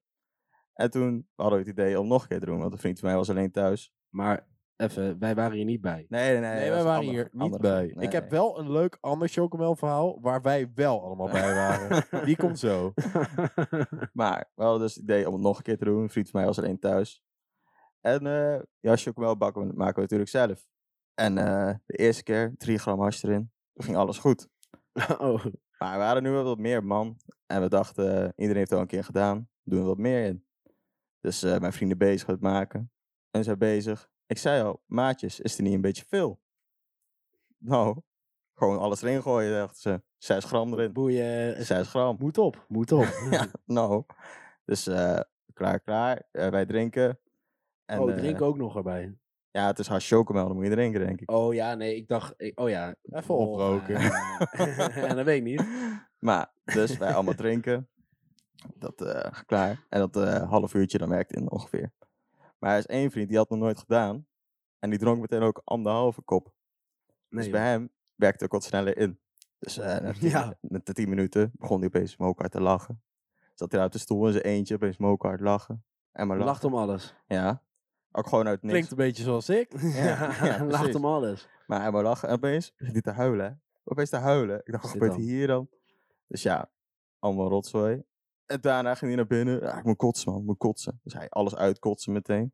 [SPEAKER 4] En toen hadden we het idee om nog een keer te doen, want een vriend van mij was alleen thuis.
[SPEAKER 2] Maar even, wij waren hier niet bij.
[SPEAKER 4] Nee, nee, nee.
[SPEAKER 1] Nee,
[SPEAKER 4] dat
[SPEAKER 1] wij
[SPEAKER 4] was een
[SPEAKER 1] waren
[SPEAKER 4] andere-
[SPEAKER 1] hier niet
[SPEAKER 4] andere
[SPEAKER 1] bij.
[SPEAKER 4] vriend. Nee,
[SPEAKER 1] ik heb
[SPEAKER 4] nee.
[SPEAKER 1] wel een leuk ander Chocomel verhaal waar wij wel allemaal bij waren. Die komt zo.
[SPEAKER 4] Maar we hadden dus het idee om het nog een keer te doen. Een vriend van mij was alleen thuis. En eh ja, chocomel bakken we, maken we natuurlijk zelf. En eh, de eerste keer, 3 gram hash erin. Toen ging alles goed.
[SPEAKER 2] oh,
[SPEAKER 4] Maar we waren nu wel wat meer man. En we dachten, eh, iedereen heeft het al een keer gedaan. Doen we wat meer in. Dus eh, mijn vrienden bezig met maken. En zij bezig. Ik zei al, maatjes, is er niet een beetje veel? Nou, gewoon alles erin gooien, dachten ze. 6 gram erin.
[SPEAKER 2] boeien.
[SPEAKER 4] 6 gram.
[SPEAKER 2] Moet op, moet op.
[SPEAKER 4] Ja, nou. Dus eh, klaar, klaar. Eh, wij drinken. En,
[SPEAKER 2] oh,
[SPEAKER 4] eh,
[SPEAKER 2] drink ook nog erbij.
[SPEAKER 4] Ja, het is hash chocomel, dan moet je drinken, denk ik.
[SPEAKER 2] Oh ja, nee, ik dacht... ik- oh ja.
[SPEAKER 1] Even
[SPEAKER 2] Oh,
[SPEAKER 1] oproken.
[SPEAKER 2] eh, ja, dat weet ik niet.
[SPEAKER 4] Maar, dus wij allemaal drinken. Dat, eh, klaar. En dat eh, half uurtje, dan werkt het in ongeveer. Maar er is één vriend, die had het nog nooit gedaan. En die dronk meteen ook anderhalve kop.
[SPEAKER 2] Nee,
[SPEAKER 4] dus bij hem werkte het ook wat sneller in. Dus eh, na, tien,
[SPEAKER 2] Ja.
[SPEAKER 4] na de tien minuten begon hij opeens mooi hard te lachen. Zat hij daar op de stoel in zijn eentje, opeens mooi hard lachen. En maar
[SPEAKER 2] joh. lacht
[SPEAKER 4] lachen.
[SPEAKER 2] om alles.
[SPEAKER 4] Ja. Ook gewoon uit niks.
[SPEAKER 1] Klinkt een beetje zoals ik.
[SPEAKER 4] Ja, ja,
[SPEAKER 2] lacht
[SPEAKER 4] precies.
[SPEAKER 2] om alles.
[SPEAKER 4] Maar hij maar lachen. En opeens begint hij te huilen. hè. Opeens te huilen. Ik dacht, wat
[SPEAKER 2] Zit
[SPEAKER 4] gebeurt
[SPEAKER 2] dan.
[SPEAKER 4] hier dan? Dus ja, allemaal rotzooi. En daarna ging hij naar binnen. Ja, ik moet kotsen, man. Ik moet kotsen. Dus hij alles uitkotsen meteen.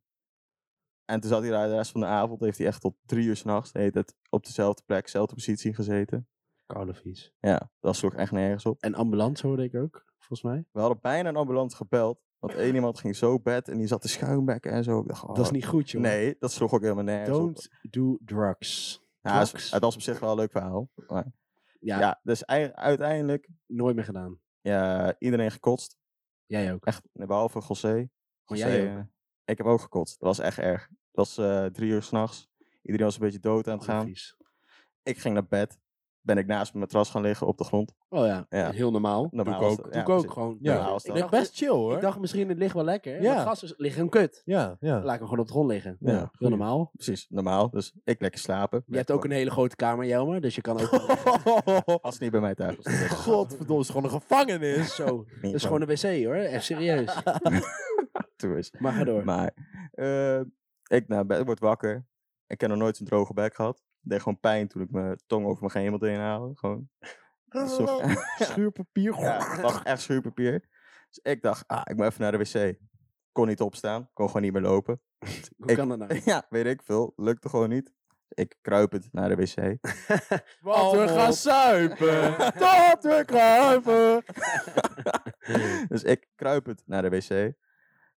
[SPEAKER 4] En toen zat hij daar de rest van de avond. Heeft hij echt tot drie uur s'nachts het op dezelfde plek, dezelfde positie gezeten.
[SPEAKER 2] Koude vies.
[SPEAKER 4] Ja, dat sloeg echt nergens op.
[SPEAKER 2] En ambulance hoorde ik ook, volgens mij.
[SPEAKER 4] We hadden bijna een ambulance gebeld. Want één iemand ging zo bed en die zat te schuimbekken en zo. Ik dacht,
[SPEAKER 2] Dat is
[SPEAKER 4] oh,
[SPEAKER 2] niet goed, joh.
[SPEAKER 4] Nee, dat sloeg ook helemaal nergens op.
[SPEAKER 2] Don't do drugs.
[SPEAKER 4] Ja, het
[SPEAKER 2] Drugs.
[SPEAKER 4] is- het was op zich wel een leuk verhaal. Maar,
[SPEAKER 2] Ja,
[SPEAKER 4] ja. dus ei- uiteindelijk
[SPEAKER 2] nooit meer gedaan.
[SPEAKER 4] ja, iedereen gekotst.
[SPEAKER 2] Jij ook.
[SPEAKER 4] Echt, behalve José.
[SPEAKER 2] Maar
[SPEAKER 4] José,
[SPEAKER 2] jij ook.
[SPEAKER 4] eh, ik heb ook gekotst. Dat was echt erg. Dat was eh, drie uur s'nachts. Iedereen was een beetje dood aan het
[SPEAKER 2] Koude
[SPEAKER 4] gaan.
[SPEAKER 2] vies.
[SPEAKER 4] Ik ging naar bed. Ben ik naast mijn matras gaan liggen op de grond.
[SPEAKER 2] Oh ja,
[SPEAKER 4] Ja.
[SPEAKER 2] heel normaal.
[SPEAKER 4] Normaal
[SPEAKER 1] ik
[SPEAKER 4] was
[SPEAKER 1] ook.
[SPEAKER 4] dat-
[SPEAKER 1] Doe
[SPEAKER 2] Doe
[SPEAKER 4] ja,
[SPEAKER 2] ik ook
[SPEAKER 4] precies.
[SPEAKER 2] gewoon.
[SPEAKER 1] Ja,
[SPEAKER 4] Normaal is
[SPEAKER 2] ik
[SPEAKER 4] dat.
[SPEAKER 2] dacht
[SPEAKER 1] best chill hoor.
[SPEAKER 2] Ik dacht misschien, het ligt wel lekker.
[SPEAKER 1] Ja.
[SPEAKER 2] Maar gasten liggen een kut.
[SPEAKER 1] ja, ja.
[SPEAKER 2] Laat ik hem gewoon op de grond liggen.
[SPEAKER 4] Ja,
[SPEAKER 2] Ja, heel normaal.
[SPEAKER 4] Precies, normaal. Dus ik lekker slapen.
[SPEAKER 2] Je hebt ook een hele grote kamer, Jelmer. Dus je kan ook...
[SPEAKER 4] Als het niet bij mij thuis was. dan-
[SPEAKER 1] Godverdomme, het is gewoon een gevangenis.
[SPEAKER 2] Zo, dat
[SPEAKER 4] Niet
[SPEAKER 2] is
[SPEAKER 4] van
[SPEAKER 2] Dus gewoon een wc hoor. Echt serieus.
[SPEAKER 4] toe is.
[SPEAKER 2] Maar ga door.
[SPEAKER 4] Maar eh, ik naar bed, word wakker. Ik heb nog nooit zo'n droge bek gehad. Het deed gewoon pijn toen ik mijn tong over mijn gemel heen haalde. Gewoon. Dat is toch-
[SPEAKER 1] Schuurpapier.
[SPEAKER 4] ja, het lag echt schuurpapier. Dus ik dacht, ah, ik moet even naar de wc. Kon niet opstaan, kon gewoon niet meer lopen.
[SPEAKER 2] Hoe
[SPEAKER 4] ik-
[SPEAKER 2] kan dat nou?
[SPEAKER 4] ja, weet ik veel. Lukte gewoon niet. Ik kruipend naar de wc.
[SPEAKER 1] Want we
[SPEAKER 2] Allemaal.
[SPEAKER 1] gaan zuipen. Dat we kruipen.
[SPEAKER 4] dus ik kruipend naar de wc.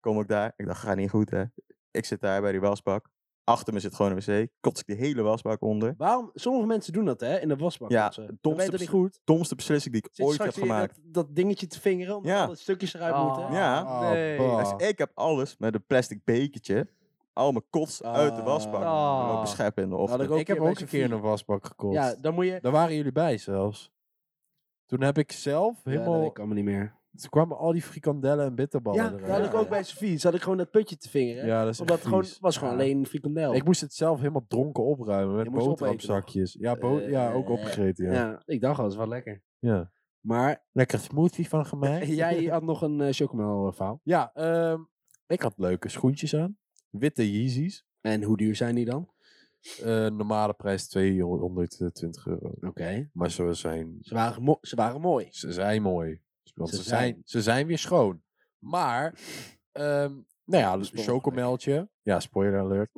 [SPEAKER 4] Kom ik daar. Ik dacht, gaat niet goed hè. Ik zit daar bij die wasbak. Achter me zit gewoon een wc. Kots ik die hele wasbak onder.
[SPEAKER 2] Waarom? Sommige mensen doen dat hè, in de wasbak.
[SPEAKER 4] Ja,
[SPEAKER 2] ze.
[SPEAKER 4] domste
[SPEAKER 2] Dat weet dat niet
[SPEAKER 4] bes-
[SPEAKER 2] goed.
[SPEAKER 4] Domste beslissing die ik
[SPEAKER 2] Zit
[SPEAKER 4] ooit
[SPEAKER 2] straks
[SPEAKER 4] heb
[SPEAKER 2] weer
[SPEAKER 4] gemaakt.
[SPEAKER 2] Dat, dat dingetje te vingeren, omdat
[SPEAKER 4] Ja.
[SPEAKER 2] alle stukjes eruit
[SPEAKER 3] Ah.
[SPEAKER 2] moeten.
[SPEAKER 4] Ja.
[SPEAKER 1] Ah,
[SPEAKER 3] Nee.
[SPEAKER 1] bah.
[SPEAKER 4] Dus ik heb alles met een plastic bekertje. Al mijn kots uit de wasbak.
[SPEAKER 3] Ah.
[SPEAKER 4] Lopen scheppen in de ochtend.
[SPEAKER 2] ook
[SPEAKER 1] Ik heb
[SPEAKER 2] een
[SPEAKER 1] ook
[SPEAKER 2] beetje
[SPEAKER 1] een keer in
[SPEAKER 2] vier.
[SPEAKER 1] een wasbak gekost.
[SPEAKER 2] Ja, dan moet je...
[SPEAKER 1] Daar waren jullie bij zelfs. Toen heb ik zelf
[SPEAKER 2] Ja, dat
[SPEAKER 1] helemaal...
[SPEAKER 2] weet ik allemaal niet meer.
[SPEAKER 1] toen kwamen al die frikandellen en bitterballen
[SPEAKER 2] Ja,
[SPEAKER 1] eruit.
[SPEAKER 2] dat had ik ook bij Sofie. Zat ik gewoon dat putje te vingeren.
[SPEAKER 1] Ja, dat is
[SPEAKER 2] omdat
[SPEAKER 1] echt
[SPEAKER 2] het gewoon,
[SPEAKER 1] vies.
[SPEAKER 2] was gewoon
[SPEAKER 1] Ja.
[SPEAKER 2] alleen een frikandel.
[SPEAKER 1] Ik moest het zelf helemaal dronken opruimen
[SPEAKER 2] Je
[SPEAKER 1] met
[SPEAKER 2] moest
[SPEAKER 1] boterhamzakjes. Ja, bo-
[SPEAKER 2] Eh,
[SPEAKER 1] ja, ook opgegeten. Ja.
[SPEAKER 2] ja.
[SPEAKER 1] Ja.
[SPEAKER 2] ik dacht al, dat is wel lekker. Maar
[SPEAKER 1] Lekker smoothie van gemaakt.
[SPEAKER 2] jij had nog een uh, verhaal.
[SPEAKER 1] Ja, ehm, ik had leuke schoentjes aan. Witte Yeezys.
[SPEAKER 2] En hoe duur zijn die dan?
[SPEAKER 1] Eh, normale prijs 220 euro.
[SPEAKER 2] Oké.
[SPEAKER 1] Maar ze zijn,
[SPEAKER 2] Ze, waren mo- ze waren mooi.
[SPEAKER 1] ze zijn mooi. Want
[SPEAKER 2] Ze
[SPEAKER 1] ze, zijn.
[SPEAKER 2] zijn.
[SPEAKER 1] ze zijn weer schoon. Maar, ehm, nou ja,
[SPEAKER 2] Spoor-
[SPEAKER 1] chocomeltje. Ja, spoiler alert.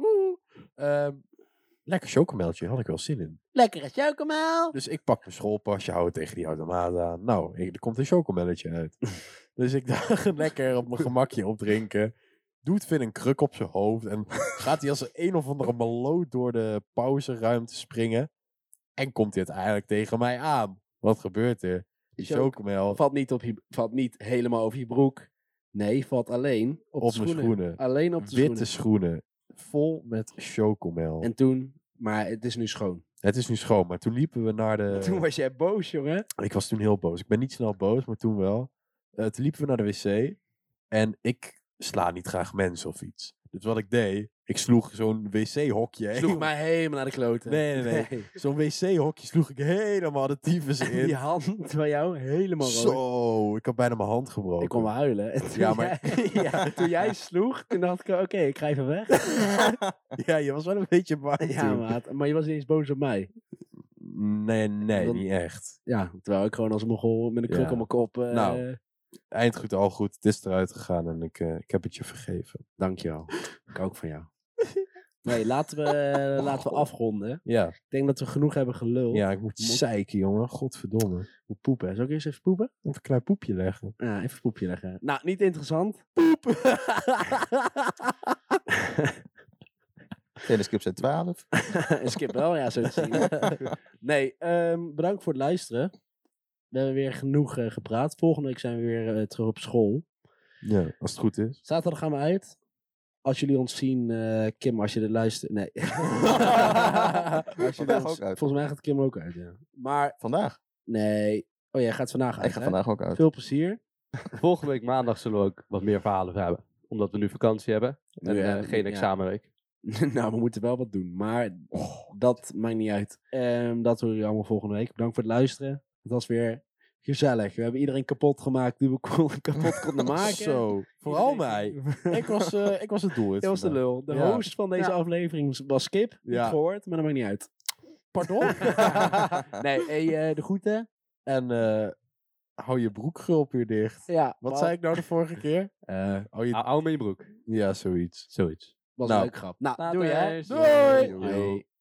[SPEAKER 1] Ehm, lekker chocomeltje, had ik wel zin in.
[SPEAKER 2] Lekkere chocomel.
[SPEAKER 1] Dus ik pak mijn schoolpasje, hou het tegen die automaat aan. Nou, ik- er komt een chocomelletje uit. dus ik dacht lekker op mijn gemakje opdrinken. Doet Finn een kruk op zijn hoofd en gaat hij als een, een of andere maloot door de pauzeruimte springen. En komt hij uiteindelijk tegen mij aan. Wat gebeurt er? Die
[SPEAKER 2] Choco-
[SPEAKER 1] chocomel
[SPEAKER 2] Valt niet, op je, valt niet helemaal over je broek. Nee, valt alleen op, de
[SPEAKER 1] op mijn
[SPEAKER 2] schoenen.
[SPEAKER 1] schoenen.
[SPEAKER 2] Alleen op de
[SPEAKER 1] Witte
[SPEAKER 2] schoenen.
[SPEAKER 1] schoenen. Vol met chocomel.
[SPEAKER 2] En toen, maar het is nu schoon.
[SPEAKER 1] Het is nu schoon, maar toen liepen we naar de...
[SPEAKER 2] Toen was jij boos, jongen.
[SPEAKER 1] Ik was toen heel boos. Ik ben niet snel boos, maar toen wel. Eh, toen liepen we naar de wc. En ik sla niet graag mensen of iets. Dus wat ik deed, ik sloeg zo'n wc-hokje.
[SPEAKER 2] Sloeg mij helemaal naar de kloten.
[SPEAKER 1] Nee, nee, nee. Zo'n wc-hokje sloeg ik helemaal de tyfus in.
[SPEAKER 2] Die hand van jou helemaal rood.
[SPEAKER 1] Zo, ik had bijna mijn hand gebroken.
[SPEAKER 2] Ik kon wel huilen. En toen,
[SPEAKER 1] Ja, maar-
[SPEAKER 2] jij, ja, toen jij sloeg, toen dacht ik, oké, ik ga even weg.
[SPEAKER 1] Ja, je was wel een beetje bang
[SPEAKER 2] Ja,
[SPEAKER 1] toen.
[SPEAKER 2] maat. Maar je was niet eens boos op mij.
[SPEAKER 1] Nee, nee,
[SPEAKER 2] Dan-
[SPEAKER 1] niet echt.
[SPEAKER 2] Ja, terwijl ik gewoon als mogol met een kruk
[SPEAKER 1] Ja.
[SPEAKER 2] op mijn kop... eh
[SPEAKER 1] Nou. Eind goed, al goed. Het is eruit gegaan en ik, eh, ik heb het je vergeven.
[SPEAKER 2] Dankjewel. ik ook van jou. Nee, laten we, eh, laten we afronden.
[SPEAKER 1] Ja,
[SPEAKER 2] Ik denk dat we genoeg hebben gelul.
[SPEAKER 1] ja ik moet
[SPEAKER 2] Moet-
[SPEAKER 1] zeiken, jongen. Godverdomme.
[SPEAKER 2] Moet poepen. Zal ik eerst even poepen?
[SPEAKER 1] Even een klein poepje leggen.
[SPEAKER 2] Ja, even een poepje leggen. Nou, niet interessant.
[SPEAKER 4] Telescript zijn 12.
[SPEAKER 2] Skip wel, ja, zo te zien. Nee, ehm, bedankt voor het luisteren. We hebben weer genoeg eh, gepraat. Volgende week zijn we weer eh, terug op school.
[SPEAKER 1] Ja, als het goed is.
[SPEAKER 2] Zaterdag gaan we uit. Als jullie ons zien, eh, Kim, als je dit luistert. Nee. als jullie
[SPEAKER 4] Vandaag
[SPEAKER 2] ons,
[SPEAKER 4] ook uit.
[SPEAKER 2] volgens mij gaat Kim ook uit, ja. Maar
[SPEAKER 4] Vandaag.
[SPEAKER 2] nee. Oh, jij gaat vandaag uit.
[SPEAKER 4] Ik ga
[SPEAKER 2] hè?
[SPEAKER 4] vandaag ook uit.
[SPEAKER 2] Veel plezier.
[SPEAKER 3] Volgende week maandag zullen we ook wat meer verhalen hebben. Omdat we nu vakantie hebben. En
[SPEAKER 2] Ja,
[SPEAKER 3] eh, geen
[SPEAKER 2] ja.
[SPEAKER 3] examenweek.
[SPEAKER 2] nou, we moeten wel wat doen. Maar dat maakt niet uit. Ehm, dat horen jullie allemaal volgende week. Bedankt voor het luisteren. Het was weer gezellig. We hebben iedereen kapot gemaakt die we kon- kapot konden maken.
[SPEAKER 1] Zo, vooral mij.
[SPEAKER 2] Iedereen-
[SPEAKER 1] Ik was, eh, ik was het doel.
[SPEAKER 2] Dat was de lul. De
[SPEAKER 1] Ja.
[SPEAKER 2] host van deze
[SPEAKER 3] Ja.
[SPEAKER 2] aflevering was Skip. Niet
[SPEAKER 1] Ja.
[SPEAKER 2] gehoord, maar dat maakt niet uit.
[SPEAKER 1] Pardon?
[SPEAKER 2] nee, hey, eh, de groeten.
[SPEAKER 1] en eh, hou je broekgulp weer dicht.
[SPEAKER 2] Ja,
[SPEAKER 1] Wat zei ik nou de vorige keer? Ah.
[SPEAKER 2] Eh,
[SPEAKER 1] Hou oh, je...
[SPEAKER 3] Hou me in je broek.
[SPEAKER 1] Ja, zoiets.
[SPEAKER 3] Zoiets.
[SPEAKER 2] was
[SPEAKER 1] Nou.
[SPEAKER 2] een leuk grap. Nou,
[SPEAKER 3] Later.
[SPEAKER 2] doei hè.
[SPEAKER 1] Doei!
[SPEAKER 2] Doei.